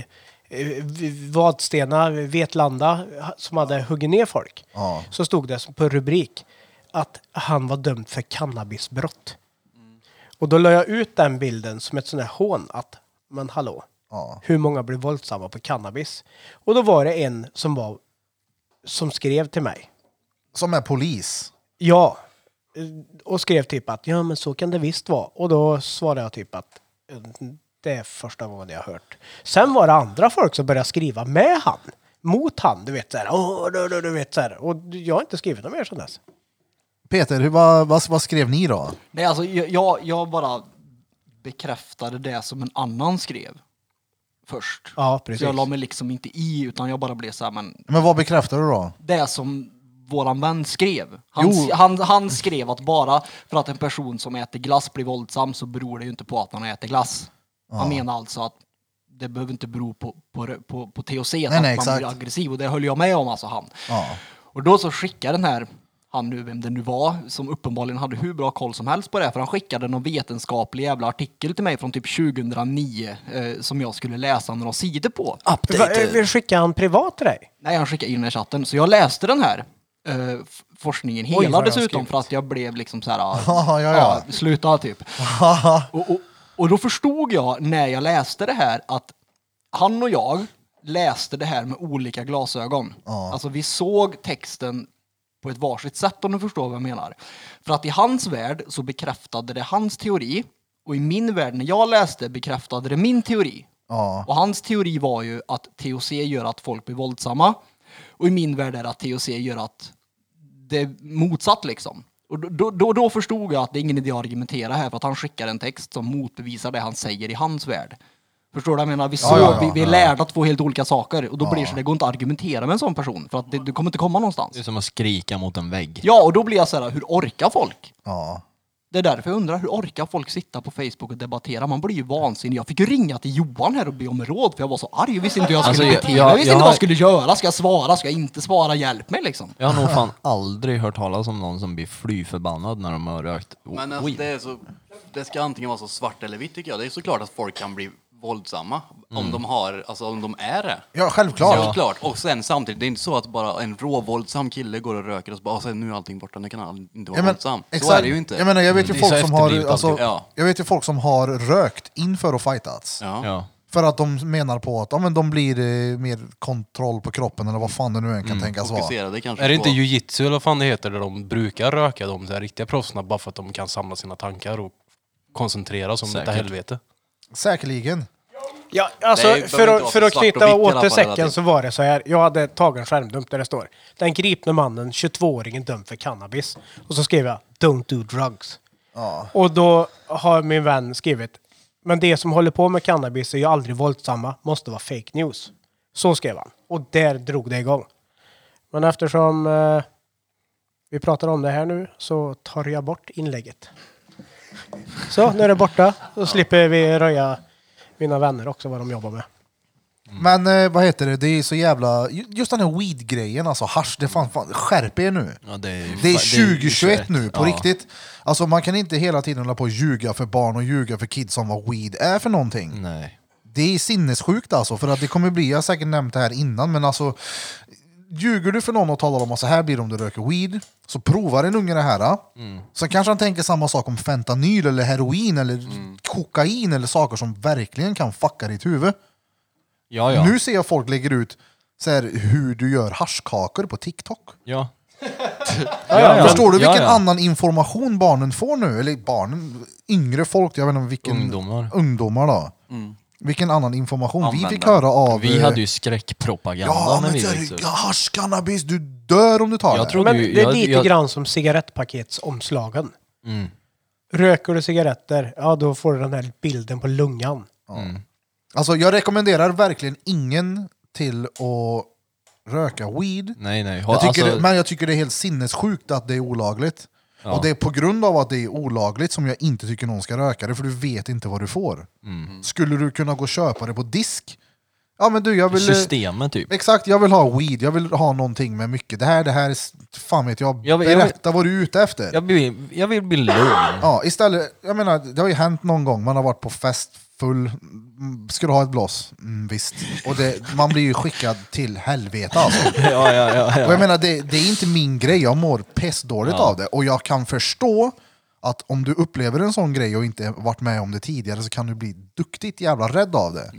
eh, V- Vadstena, Vetlanda, ha- som hade huggit ner folk.
Ja.
Så stod det som på rubrik att han var dömd för cannabisbrott. Och då la jag ut den bilden som ett sånt här hån att, men hallå,
Ja.
hur många blir våldsamma på cannabis? Och då var det en som var, som skrev till mig.
Som är polis.
Ja. Och skrev typ att ja men så kan det visst vara. Och då svarade jag typ att eh, det är första gången jag har hört. Sen var det andra folk som började skriva med han. Mot han, du vet såhär. Åh, du, du, du vet såhär. Och jag har inte skrivit något mer sedan dess.
Peter, hur, vad, vad, vad skrev ni då?
Nej, alltså jag, jag, jag bara bekräftade det som en annan skrev först.
Ja,
så
precis.
jag la mig liksom inte i, utan jag bara blev så här, men
Men vad bekräftar du då?
det som våran vän skrev. Han,
Jo.
han, han skrev att bara för att en person som äter glass blir våldsam så beror det ju inte på att han äter glass. Han menar alltså att det behöver inte bero på, på, på, på THC, att
nej,
man
exakt.
blir aggressiv. Och det höll jag med om, alltså han.
Ja.
Och då så skickade den här, han nu, vem det nu var, som uppenbarligen hade hur bra koll som helst på det, för han skickade någon vetenskaplig jävla artikel till mig från typ 2009 eh, som jag skulle läsa några sidor
Ah,
på.
Va,
typ-
eh, vi skickar han privat till dig?
Nej, han skickade in den i chatten. Så jag läste den här eh, f- forskningen hela
vad jag har
dessutom
skrivit.
för att jag blev liksom så här... ah,
Ja, ja, ja.
ah, sluta typ. och, och, och då förstod jag när jag läste det här att han och jag läste det här med olika glasögon. Alltså vi såg texten på ett varsitt sätt om du förstår vad jag menar. För att i hans värld så bekräftade det hans teori och i min värld när jag läste bekräftade det min teori.
Ja.
Och hans teori var ju att THC gör att folk blir våldsamma. Och i min värld är det att THC gör att det är motsatt liksom. Och då- då, då, då förstod jag att det är ingen idé att argumentera här för att han skickar en text som motbevisar det han säger i hans värld. Förstår du vad jag menar? Vi, såg,
ja, ja,
vi, vi är lärda två helt olika saker och då blir det så det går inte att argumentera med en sån person för att det, du kommer inte komma
Det är
någonstans.
som att skrika mot en vägg.
Ja, och då blir jag så här, hur orkar folk?
ja.
Det är därför jag undrar, hur orkar folk sitta på Facebook och debattera? Man blir ju vansinnig. Jag fick ju ringa till Johan här och be om råd för jag var så arg. Jag visste inte hur jag skulle
Alltså, jag-
bete mig.
jag-
Jag visste
jag
inte
har-
vad jag skulle göra. Ska jag svara? Ska jag inte svara? Hjälp mig liksom.
Jag har nog fan aldrig hört talas om någon som blir fly förbannad när de har rökt
Men
o-
alltså,
weed.
det, är så, det ska antingen vara så svart eller vitt tycker jag. Det är såklart att folk kan bli våldsamma om de har, alltså om de är det.
Ja, självklart.
Såklart. Och sen samtidigt, det är inte så att bara en råvåldsam kille går och röker och så bara, "Ah, sen nu är allting borta, nu kan han inte vara
Ja, men,
våldsam. Så
exakt.
är det ju inte.
Jag, menar, jag, vet ju
Det är
folk
så
som har,
efterblivet
alltså,
alltid.
Ja.
jag vet ju folk som har rökt inför och fightats.
ja.
Ja.
För att de menar på att ja, men de blir eh, mer kontroll på kroppen eller vad fan det nu än kan tänkas vara.
Fokuserade kanske
Är det inte
på...
jujitsu eller vad fan det heter där de brukar röka de där riktiga proffsen bara för att de kan samla sina tankar och koncentrera sig om detta
Säkert.
helvete?
Säkerligen.
Ja, alltså,
Nej, det
för,
behöver inte
att,
vara
för
så
att
svart och
knyta
vitt i alla
åt
fall,
till säcken
relativt.
så var det så här. Jag hade tagit en skärmdump där det står. Den gripne mannen, 22-åringen dömd för cannabis. Och så skrev jag Don't do drugs.
Ja.
Och då har min vän skrivit. Men det som håller på med cannabis är ju aldrig våldsamma. Måste vara fake news. Så skrev han. Och där drog det igång. Men eftersom eh, vi pratar om det här nu så tar jag bort inlägget. Så, nu är det borta. Då slipper vi röja mina vänner också vad de jobbar med.
Men eh, vad heter det, det är så jävla... ju- Just den här weed-grejen alltså, hasch, det fan, fan, skärp er nu.
Ja, det är, ju
Det
fa- det är
är
ju
2021 nu, på
Ja.
riktigt. Alltså man kan inte hela tiden hålla på och ljuga för barn och ljuga för kids om vad weed är för någonting.
Nej.
Det är sinnessjukt alltså, för att det kommer bli, jag har säkert nämnt det här innan, men alltså ljuger du för någon och talar om att så här blir det om du röker weed, så provar en unge det här. Mm. Sen kanske han tänker samma sak om fentanyl eller heroin eller
Mm.
kokain eller saker som verkligen kan fucka ditt huvud.
Ja, ja.
Nu ser jag folk lägger ut så här, hur du gör haschkakor på TikTok.
ja.
ja,
ja.
Förstår du
Ja,
vilken
ja.
annan information barnen får nu? Eller barnen, yngre folk, jag vet inte vilken...
Ungdomar. Mm.
Ungdomar då. Vilken annan information vi fick
Användare.
höra av...
Vi
eh,
hade ju skräckpropaganda
Ja,
när
men
vi
så är det-
växte upp.
ja, hasch, cannabis, du dör om du tar
Jag
det.
trodde
Men
ju...
det är
Jag,
lite
jag,
grann som cigarettpaketsomslagen. Röker du cigaretter, ja då får du den här bilden på lungan.
Alltså, jag rekommenderar verkligen ingen till att röka weed.
nej, nej.
Jag tycker
alltså,
det, men jag tycker det är helt sinnessjukt att det är olagligt.
Ja.
Och det är på grund av att det är olagligt som jag inte tycker någon ska röka det, för du vet inte vad du får.
Mm.
Skulle du kunna gå och köpa det på disk? Ja men du, jag vill... eh,
Systemet typ.
Exakt, jag vill ha weed, jag vill ha någonting med mycket. Det här, det här, är s- fan vet jag,
Jag vill- jag vill-
berätta vad du är ute efter.
Jag vill, jag vill bli lugn.
Ja, istället, jag menar, det har ju hänt någon gång, man har varit på fest, full, mm, ska du ha ett blås? Mm, visst. Och det, man blir ju skickad till helvete alltså.
ja, ja, ja,
Och jag menar, det, det är inte min grej, jag mår pissdåligt av det. Och jag kan förstå att om du upplever en sån grej och inte varit med om det tidigare så kan du bli duktigt jävla rädd av det.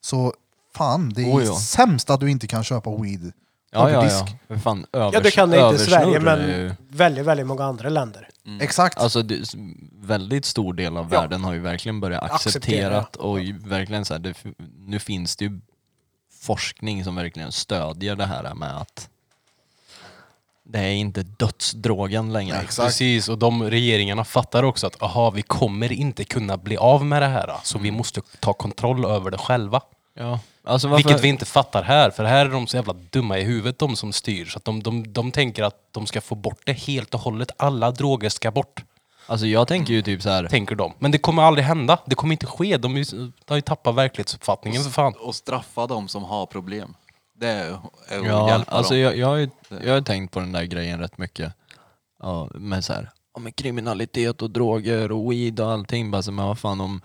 Så fan, det är
Mm. Oj, ja.
sämst att du inte kan köpa weed
ja,
över
ja,
disk.
ja. För Fan, övers,
Ja, du kan det inte i
översnurr
Sverige,
är ju-
men väldigt, väldigt många andra länder.
Exakt.
Alltså, det, s- väldigt stor del av världen har ju verkligen börjat
Acceptera.
accepterat och ju verkligen så här, det, f- nu finns det ju forskning som verkligen stödjer det här med att det är inte dödsdrogen längre.
Precis, och de regeringarna fattar också att aha, vi kommer inte kunna bli av med det här, så vi måste ta kontroll över det själva.
Ja. Alltså, varför,
Vilket vi inte fattar här, för här är de så jävla dumma i huvudet de som styr. Så att de, de, de tänker att de ska få bort det helt och hållet. Alla droger ska bort,
alltså jag tänker ju typ så här,
tänker de. Men det kommer aldrig hända. Det kommer inte ske. De, är ju- de har ju tappat verklighetsuppfattningen för fan.
Och straffa de som har problem. Det är är att
Ja,
hjälpa
alltså
dem.
jag, jag, har ju, jag har tänkt på den där grejen rätt mycket. Ja, men så här, ja, men kriminalitet och droger och weed och allting. Bara så, men vad fan om,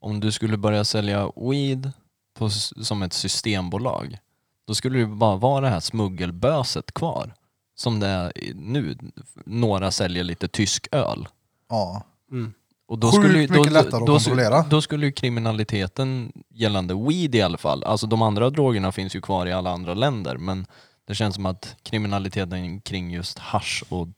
om du skulle börja sälja weed på, s- som ett systembolag, då skulle det bara vara det här smuggelböset kvar. Som det är i- nu. Några säljer lite tysk öl.
ja.
Och då
Sjukt
skulle, ju- då,
mycket lättare att
då,
kontrollera.
Då skulle ju kriminaliteten gällande weed i alla fall, alltså de andra drogerna finns ju kvar i alla andra länder men det känns som att kriminaliteten kring just hasch och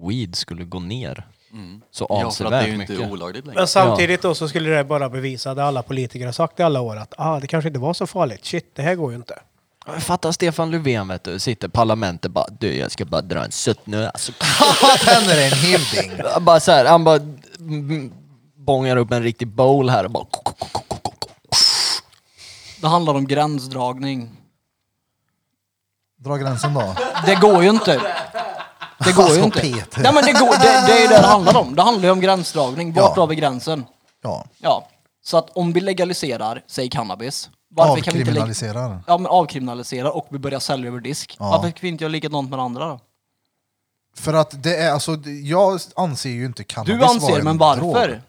weed skulle gå ner så
Mm. Ja, för att det är
avsevärt
ju inte
mycket.
olagligt längre.
Men samtidigt då så skulle det bara bevisa det alla politiker har sagt i alla år att ah, det kanske inte var så farligt. Shit, det här går ju inte.
Men Fatta Stefan Löfven vet du, sitter i parlamentet bara du jag ska bara dra en sutt nu alltså.
Den är en hilding.
Han bara så här, han bara mm, bångar upp en riktig bowl här och bara
Det handlar om gränsdragning.
Dra gränsen då.
Det går ju inte. Det går ju
Alltså,
inte.
Peter.
Nej, men det, går, det, det är ju det det handlar om. Det handlar ju om gränsdragning. Vart
Ja.
drar vi gränsen?
Ja.
Ja. Så att om vi legaliserar, säg cannabis. Varför kan vi inte leg-
Avkriminaliserar.
ja, men avkriminalisera och vi börjar sälja över disk.
Ja.
Varför kan vi inte göra likadant med det andra då?
För att det är alltså, jag anser ju inte cannabis
Du
vara
anser,
en
men varför?
drog.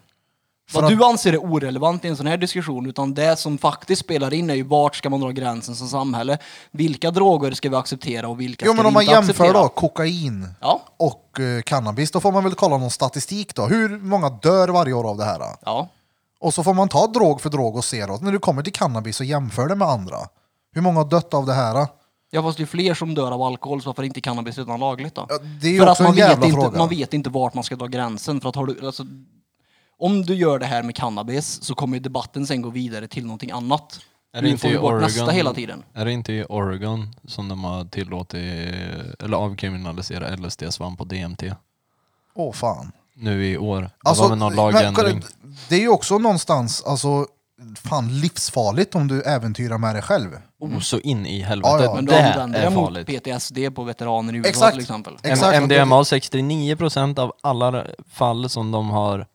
För
Vad
att-
du anser är orelevant i en sån här diskussion, utan det som faktiskt spelar in är ju vart ska man dra gränsen som samhälle? Vilka droger ska vi acceptera och vilka
Jo
ska
men
vi
om man
inte
jämför
acceptera?
då kokain
Ja,
och eh, cannabis, då får man väl kolla någon statistik då. Hur många dör varje år av det här? då?
ja.
Och så får man ta drog för drog och se då. När du kommer till cannabis och jämför det med andra. Hur många har dött av det här?
Ja fast det är fler som dör av alkohol så varför är inte cannabis redan lagligt då?
Ja, det är ju
för
också
att man
en jävla
vet
fråga.
Inte, man vet inte vart man ska dra gränsen. För att har du, alltså, om du gör det här med cannabis så kommer ju debatten sen gå vidare till någonting annat.
Är
du
det inte
får
i
ju bort
Oregon?
nästa hela tiden.
Är det inte i Oregon som de har tillåtit eller avkriminaliserat LSD-svamp och DMT?
Åh fan.
Nu i år. Det
Alltså,
var väl någon
men kolla,
lagändring?
det är ju också någonstans, alltså, fan livsfarligt om du äventyrar med dig själv.
Oh, så in i helvete.
Ja, ja.
Men du
Det
använder
är
det mot
farligt.
PTSD på veteraner i USA
Exakt.
till exempel.
Exakt.
M- MDMA 69% av alla fall som de har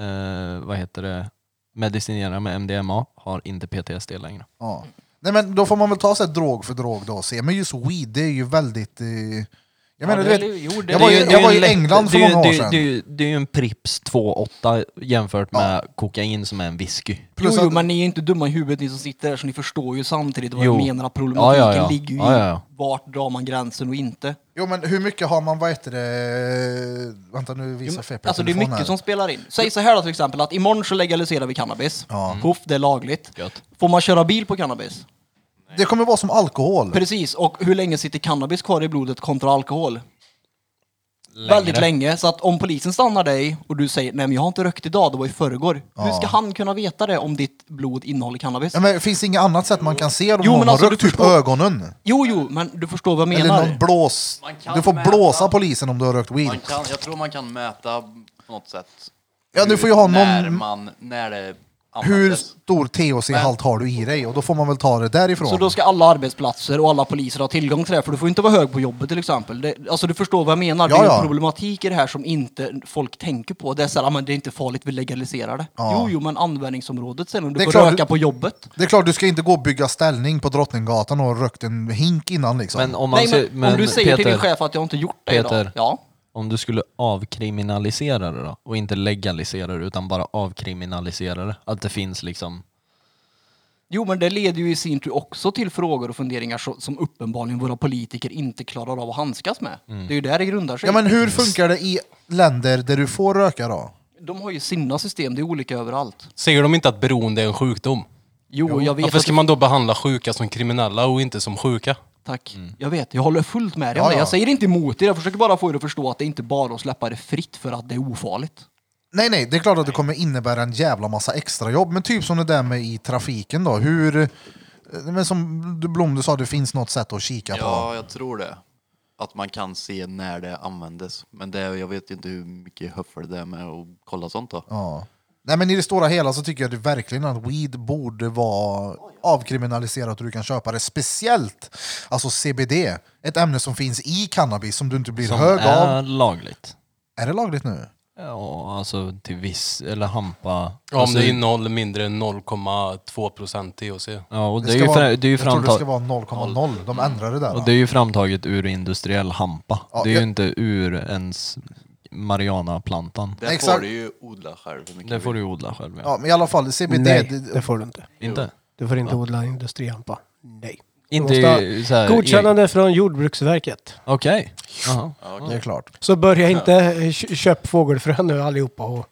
eh, vad heter det, medicinerat med MDMA har inte PTSD längre.
Ja. Nej men då får man väl ta sig drog för drog då och se. Men just weed, det är ju väldigt... Eh... Jag menar, du
det är-
vet,
jo, det
jag
är-
var ju,
Det är ju-
jag var ju
det är
i
en lätt-
England för
det är ju-
många år
det är-
sedan.
Det är ju- det är ju en Prips 2,8 jämfört med kokain som är en whisky.
Jo,
Plus
jo,
att-
men ni är ju inte dumma i huvudet ni som sitter där så ni förstår ju samtidigt vad
Jo.
jag menar att problematiken
Ja, ja, ja.
ligger ju
Ja, ja, ja.
i vart drar man gränsen och inte.
Jo men hur mycket har man, vad heter det... Vänta nu visar jag fel på
Alltså det är
telefon
mycket
här.
som spelar in. Säg så här då till exempel att imorgon så legaliserar vi cannabis.
Mm.
Puff, det är lagligt.
Gött.
Får man köra bil på cannabis?
Det kommer vara som alkohol.
Precis, och hur länge sitter cannabis kvar i blodet kontra alkohol? Väldigt länge, så att om polisen stannar dig och du säger nej men jag har inte rökt idag, det var i förrgår. Hur ska han kunna veta det om ditt blod innehåller cannabis?
Ja, men, finns det inget annat sätt man kan se om
Jo,
någon
men
har
alltså,
rökt
du
typ
förstår-
ögonen?
Jo, jo, men du förstår vad jag
Eller
menar.
någon blås...
kan
Du får
mäta.
blåsa polisen om du har rökt
Man
weed.
kan, jag tror man kan mäta på något sätt.
Ja, du får ju ha
När,
någon...
man, när det
Hur
användes.
stor THC-halt har du i dig? Och då får man väl ta det därifrån.
Så då ska alla arbetsplatser och alla poliser ha tillgång till det, för du får inte vara hög på jobbet till exempel. Det, alltså du förstår vad jag menar,
Ja,
det är
ja.
en problematik i det här som inte folk tänker på. Det är såhär, ah, men det är inte farligt, vi legaliserar det.
Ja.
Jo, jo, men användningsområdet sen, om du
Det är
får
klart
röka
du-
på jobbet.
Det är klart, du ska inte gå och bygga ställning på Drottninggatan och ha rökt en hink innan liksom.
Men om, man
Nej,
ser,
men, om du säger
Peter,
till din chef att jag har inte gjort det idag.
Peter.
Ja.
om du skulle avkriminalisera det då och inte legalisera det utan bara avkriminalisera det. Att det finns liksom
Jo, men det leder ju i sin tur också till frågor och funderingar så- som uppenbarligen våra politiker inte klarar av att handskas med.
Mm.
Det är ju där det grundar sig.
Ja men hur funkar det i länder där du får röka då?
De har ju sina system, det är olika överallt.
Säger de inte att beroende är en sjukdom?
Jo, jag vet
Varför ska
att...
man då behandla sjuka som kriminella och inte som sjuka?
Tack. Jag vet, jag håller fullt med dig
Ja,
om det.
ja.
Jag säger inte emot er, jag försöker bara få er att förstå att det inte bara är att släppa det fritt för att det är ofarligt.
Nej nej, det är klart att det kommer innebära en jävla massa extra jobb. men typ som det där med i trafiken då. Hur... eh, Men som du Blom, du sa det finns något sätt att kika på.
Ja, jag tror det. Att man kan se när det användes. Men det, jag vet ju inte hur mycket höffel det är med att kolla sånt då.
Ja. Nej men i det stora hela så tycker jag det verkligen att weed borde vara avkriminaliserat och du kan köpa det. Speciellt alltså CBD, ett ämne som finns i cannabis som du inte blir
som
hög
är
av.
lagligt.
Är det lagligt nu?
Ja, alltså till viss, eller hampa.
Ja, om
alltså,
det innehåller mindre än 0,2 procent THC.
ja, och det, är
ska
ju,
vara-
fra, det är ju
jag tror det
framtaget.
ska vara 0,0. De ändrar det där.
Och
va?
det är ju framtaget ur industriell hampa.
Ja,
det är
jag-
ju inte ur ens marijuana-plantan.
Det
Exakt.
får du ju odla själv. hur mycket
Det får du ju odla själv. Ja.
Ja, men i alla fall, CBD...
Nej,
det-
det får du inte.
Inte?
Du får inte odla industrihampa. Nej.
Inte
måste ha
i- så här,
Godkännande från Jordbruksverket.
i- Okej. Jaha.
Det är klart.
Så börja inte kö- köp fågelfrön nu allihopa och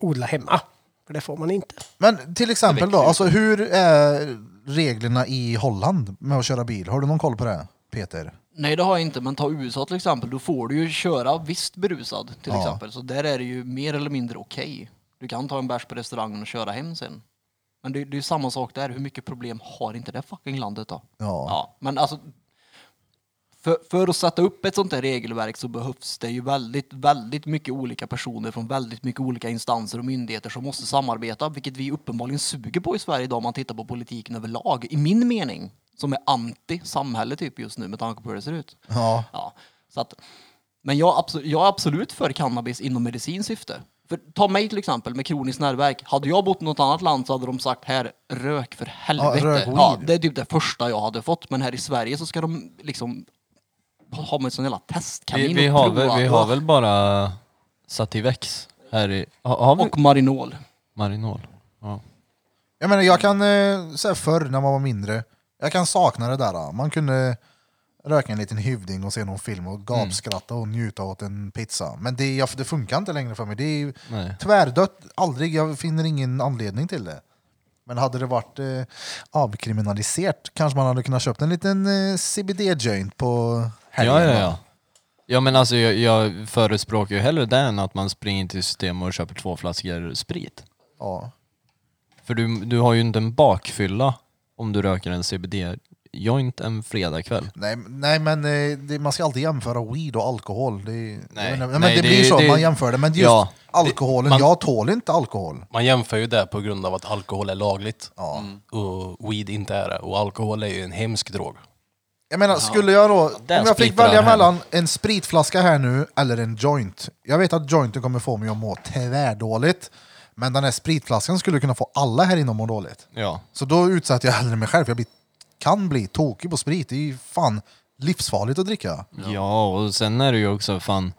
odla hemma. För det får man inte.
Men till exempel då, alltså hur är reglerna i Holland med att köra bil? Har du någon koll på det, Peter?
Nej, det har jag inte, men ta USA till exempel. Då får du ju köra visst berusad till
Ja.
exempel. Så där är det ju mer eller mindre okej. Du kan ta en bärs på restaurangen och köra hem sen. Men det, det är ju samma sak där. Hur mycket problem har inte det fucking landet då?
Ja.
Ja, men alltså. För, för att sätta upp ett sånt här regelverk så behövs det ju väldigt, väldigt mycket olika personer från väldigt mycket olika instanser och myndigheter som måste samarbeta, vilket vi uppenbarligen suger på i Sverige idag om man tittar på politiken överlag, i min mening, som är anti-samhälle typ just nu med tanke på hur det ser ut.
Ja.
Ja, så att, men jag, är absolut, jag är absolut för cannabis inom medicinskt syfte. För ta mig till exempel med kronisk nervverk. Hade jag bott i något annat land så hade de sagt här, rök för helvete.
rök weed.
det är typ det första jag hade fått. Men här i Sverige så ska de liksom ha- ha med en sån jävla testkanin
Vi, vi,
och
har
prova.
väl, vi har väl bara Sativex här i... Har, har vi
Och Marinol.
Marinol? Ja.
Jag menar, jag kan, eh, så här förr när man var mindre, jag kan sakna det där. Man kunde röka en liten hyvding och se någon film
Mm.
och gapskratta och njuta åt en pizza. Men det, jag, det funkar inte längre för mig. Det är ju
Nej.
tvärdött. Aldrig. Jag finner ingen anledning till det. Men hade det varit eh, avkriminaliserat kanske man hade kunnat köpt en liten eh, CBD-joint på helgen.
Ja, ja, ja. Ja men alltså jag, jag förespråkar ju hellre det än att man springer till systemet och köper två flaskor sprit.
ja.
För du, du har ju inte en bakfylla om du röker en CBD-joint en fredagkväll.
Nej, nej men eh, det, man ska alltid jämföra weed och alkohol. Det, nej,
Nej,
men, men
nej,
det,
det
blir
är-
så,
det är-
man jämför det. Men just
Ja,
alkoholen,
man-
jag tål inte alkohol.
Man jämför ju det på grund av att alkohol är lagligt
Ja.
och weed inte är det. Och alkohol är ju en hemsk drog.
Jag menar, skulle jag då, om
Den
jag fick
splittrar
välja
den här.
mellan en spritflaska här nu eller en joint. Jag vet att jointen kommer få mig att må tvärdåligt. Men den här spritflaskan skulle kunna få alla här inne att må dåligt.
Ja.
Så då utsätter jag hellre mig själv. Jag blir, kan bli tokig på sprit. Det är ju fan livsfarligt att dricka.
Ja, och sen är det ju också fan,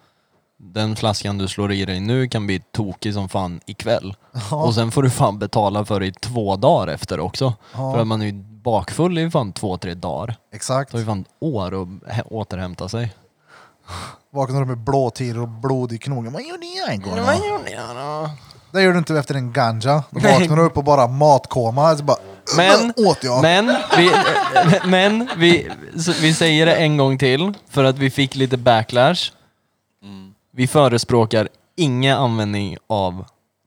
den flaskan du slår i dig nu kan bli tokig som fan ikväll. Och sen får du fan betala för det i två dagar efter också. För att man är ju bakfull i fan två, tre dagar. Det
Exakt.
tar ju fan år att hä- återhämta sig.
Vaknar upp med blåtiror och blod i knogen. Vad gjorde jag igår? då? Det gör du inte efter en ganja. Då vaknar du upp och bara matkoma. Alltså bara,
Men,
"Vad åt jag.
men, vi, men vi, så vi säger det en gång till för att vi fick lite backlash. Vi förespråkar ingen användning av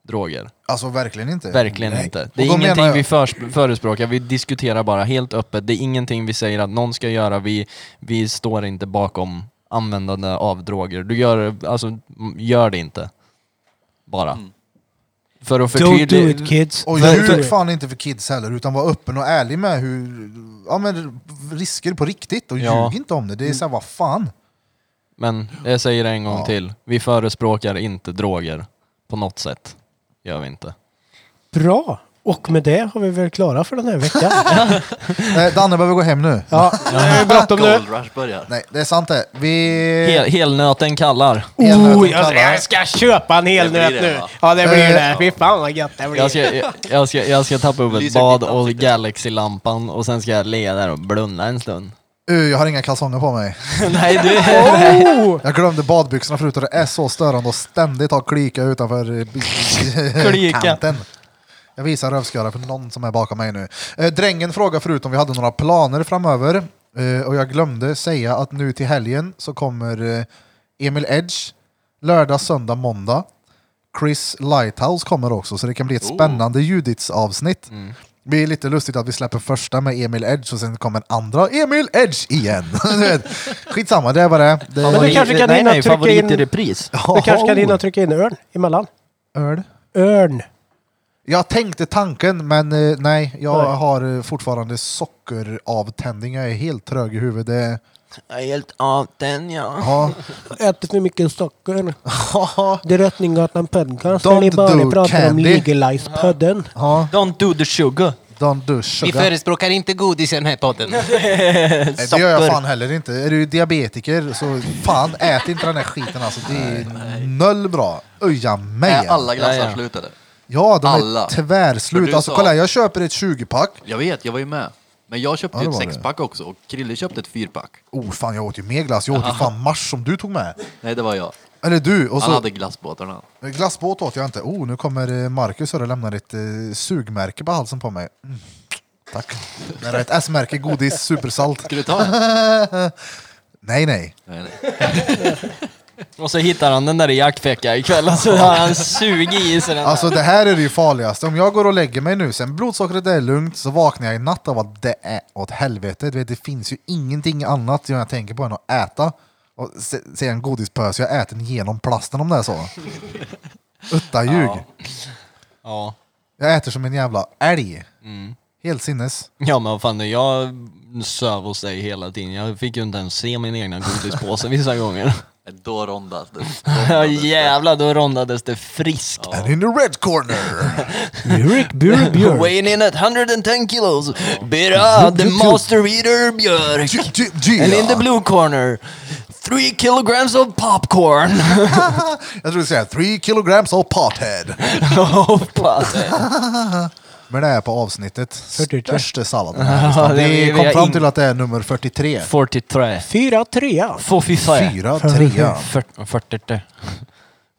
droger.
Alltså verkligen inte.
Verkligen
Nej.
inte.
Och
Det är
då menar
ingenting
jag-
vi förs- förespråkar, vi diskuterar bara helt öppet. Det är ingenting vi säger att någon ska göra, vi, vi står inte bakom användande av droger. Du gör, alltså, m- gör det inte. Bara.
Mm.
För att
Don't do it
förtydliga...
kids.
Och
Don't do
ljug
it.
fan inte för kids heller, utan var öppen och ärlig med hur, ja, men risker på riktigt och
Ja.
ljug inte om det. Det är såhär, vad fan.
Men jag säger det en gång
Ja.
till, vi förespråkar inte droger på något sätt. Gör vi inte.
Bra! Och med det har vi väl klara för den här veckan.
Eh, Danne behöver gå hem nu.
ja, det är bråttom nu.
Gold Rush börjar.
Nej, det är sant det. Vi...
Hel, helnöten kallar.
Oh, jag, jag ska köpa en hel
Det blir
nöt
det,
nu.
va?
Ja, det blir det. Fy fan vad gött det
Jag
blir.
ska, jag, jag, ska, jag ska tappa upp ett
Lyser
bad
mitt
och
ansikte.
Galaxy-lampan och sen ska jag ligga där och blunda en stund.
Uh, jag har inga kalsonger på mig.
Nej, du...
Oh!
Jag glömde badbyxorna förut och det är så störande att ständigt ha klyka utanför eh, b-
Klyka.
kanten. Jag visar rövsköra för någon som är bakom mig nu. Eh, drängen frågade förut om vi hade några planer framöver. Eh, och jag glömde säga att nu till helgen så kommer eh, Emil Edge lördag, söndag, måndag. Chris Lighthouse kommer också, så det kan bli ett spännande Judits-avsnitt. Det är lite lustigt att vi släpper första med Emil Edge och sen kommer andra Emil Edge igen. Du vet, Skitsamma, det var det. det
Men du kanske kan
nej,
hinna
nej,
trycka
favorit i
in-
repris.
Du kanske
Oh.
kan hinna trycka in örn emellan.
Öl.
Örn.
Jag tänkte tanken, men eh, nej, jag
Nej.
har eh, fortfarande sockeravtändning. Jag är helt trög i huvudet. Det-
Jag är helt av den ja.
Ja.
Äter för mycket socker. Det är Rötninggatan podcast.
Don't
Där ni
do
bara pratar om
candy.
legalize-podden.
ja.
Don't do the sugar.
Don't do sugar.
Vi förespråkar inte godis i den här podden.
Nej, det gör jag fan heller inte. Är du diabetiker så fan, ät inte den här skiten alltså. Det är noll bra. Öja mig.
Är alla glassar
Ja, ja.
slut eller?
Ja, de är
Alla. För
tvärslut.
du
Alltså
sa-
kolla, här, jag köper ett 20-pack.
Jag vet, jag var ju med. Men jag köpte
Ja,
ju
typ
det var
ett
det.
sexpack också och Krille köpte ett fyrpack.
Oh fan, jag åt ju mer glass. Jag åt ju fan mars som du tog med.
Nej, det var jag.
Eller du. Och
Han
så,
hade glassbåtarna.
Eh, Glassbåt åt jag inte. Oh, nu kommer eh, Marcus här och lämnar ett eh, sugmärke på halsen på mig. Mm. Tack. Det är ett S-märke, godis, supersalt.
Ska du ta en?
Nej, nej.
Nej, nej.
Och så hittar han den där i jackfickan ikväll och så har han sugit i sig den.
Alltså det här är det ju farligaste. Om jag går och lägger mig nu, sen blodsockret är lugnt, så vaknar jag i natt av att det är åt helvete. Du vet, det finns ju ingenting annat jag tänker på än att äta. Och se, se en godispöse, jag äter den genom plasten om det är så. Utta ljug.
Ja.
Jag äter som en jävla älg. Helt sinnes.
ja, men vad fan, jag söv hos dig hela tiden. Jag fick ju inte ens se min egna godispåse vissa gånger.
Då rondades det.
Ja, jävlar, då rondades det friskt.
And in the red corner!
Burik, Burik, Björk.
Weighing in at 110 kilos, Bera, the master eater Björk.
G- G- G-
And in the
ja.
blue corner, three kilograms of popcorn.
Jag tror du säger 3 kilograms of pothead.
Hoppas det.
Men det är på avsnittet
43.
största salladen här. listan.
det-
Vi
vi
kom
har
fram
ing-
till att det är nummer 43.
43.
Fyra trea.
43.
Fyra, trea.
43.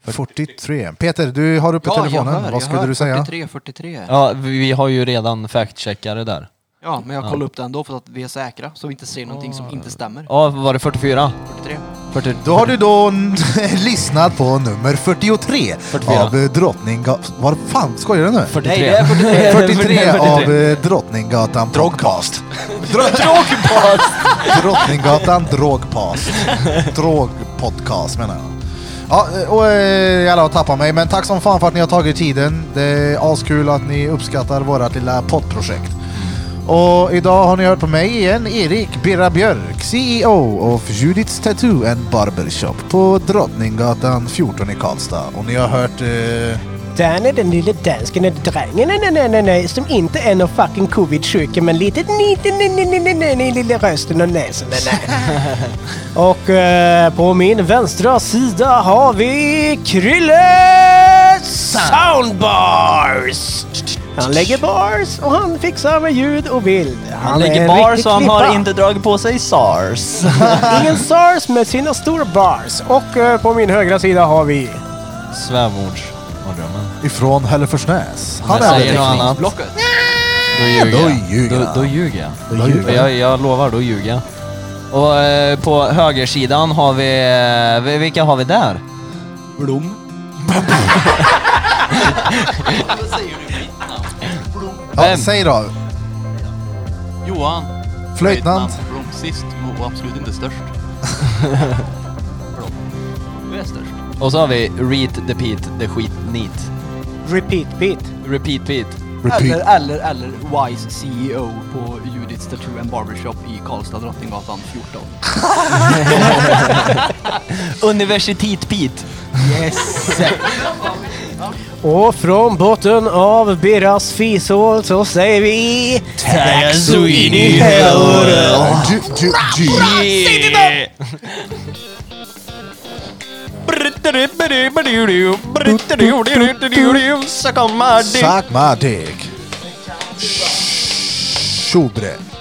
43. Peter, du har uppe telefonen. Vad skulle du säga?
43, 43. Ja.
Ja, vi vi har ju redan fact-checkare där.
men jag kollar upp det ändå för att vi är säkra. Så vi inte ser någonting som inte stämmer.
Ja, var det 44?
43.
40,
Då har du då n- lyssnat på nummer 43
44.
av eh, Drottninggatan... Vad fan skojar du nu?
43.
Nej, det är 43.
43 av eh, Drottninggatan... Drogcast. Drogcast! Drottninggatan Drogpast. Drogpodcast menar jag. Ja, eh, och eh, jävlar vad jag tappar mig. Men tack som fan för att ni har tagit tiden. Det är askul att ni uppskattar vårat lilla poddprojekt. Och idag har ni hört på mig igen, Erik Birra Björk, CEO of Judiths Tattoo and Barbershop på Drottninggatan 14 i Karlstad. Och ni har hört... Eh,
Danne, den lille dansken, den drängen, nej, nej, nej, nej, nej, som inte är någon fucking covid-sjuka, men lite lite, nej, nej, nej, nej, nej, nej, lilla rösten och näsan, nej, nej. Och eh, på min vänstra sida har vi Krille Soundbars! Han lägger bars och han fixar med ljud och bild. Han, är en riktig knippa.
dragit på sig SARS.
Ingen SARS med sina stora bars. Och eh, på min högra sida har vi...
Svärmordsmardrömmen.
ifrån Hälleforsnäs. Han
Men
är
säger
väl
något annat.
Blocket.
Då ljuger
då
jag.
ljuger
Då,
han.
då ljuger jag.
Då ljuger
jag. Jag lovar, då ljuger jag. Och eh, på högersidan har vi... eh, Vilka har vi där?
Blom.
Ja,
Vem?
säg då.
Johan!
Flöjtnant.
Blom. Sist och absolut inte störst. Blom. Du är störst.
Och så har vi Reet the Pete, the skit neat.
Repeat Pete.
Repeat Pete.
Repeat.
Eller, eller, eller Wise CEO på Judiths Tattoo and Barbershop i Karlstad, Drottninggatan 14.
Universitet Pete.
Yes!
Och från botten av Birras fishål så säger vi...
Taxoini.
Ju- ju- ju-
Så kommer det.
Suck my dick. Tjobre.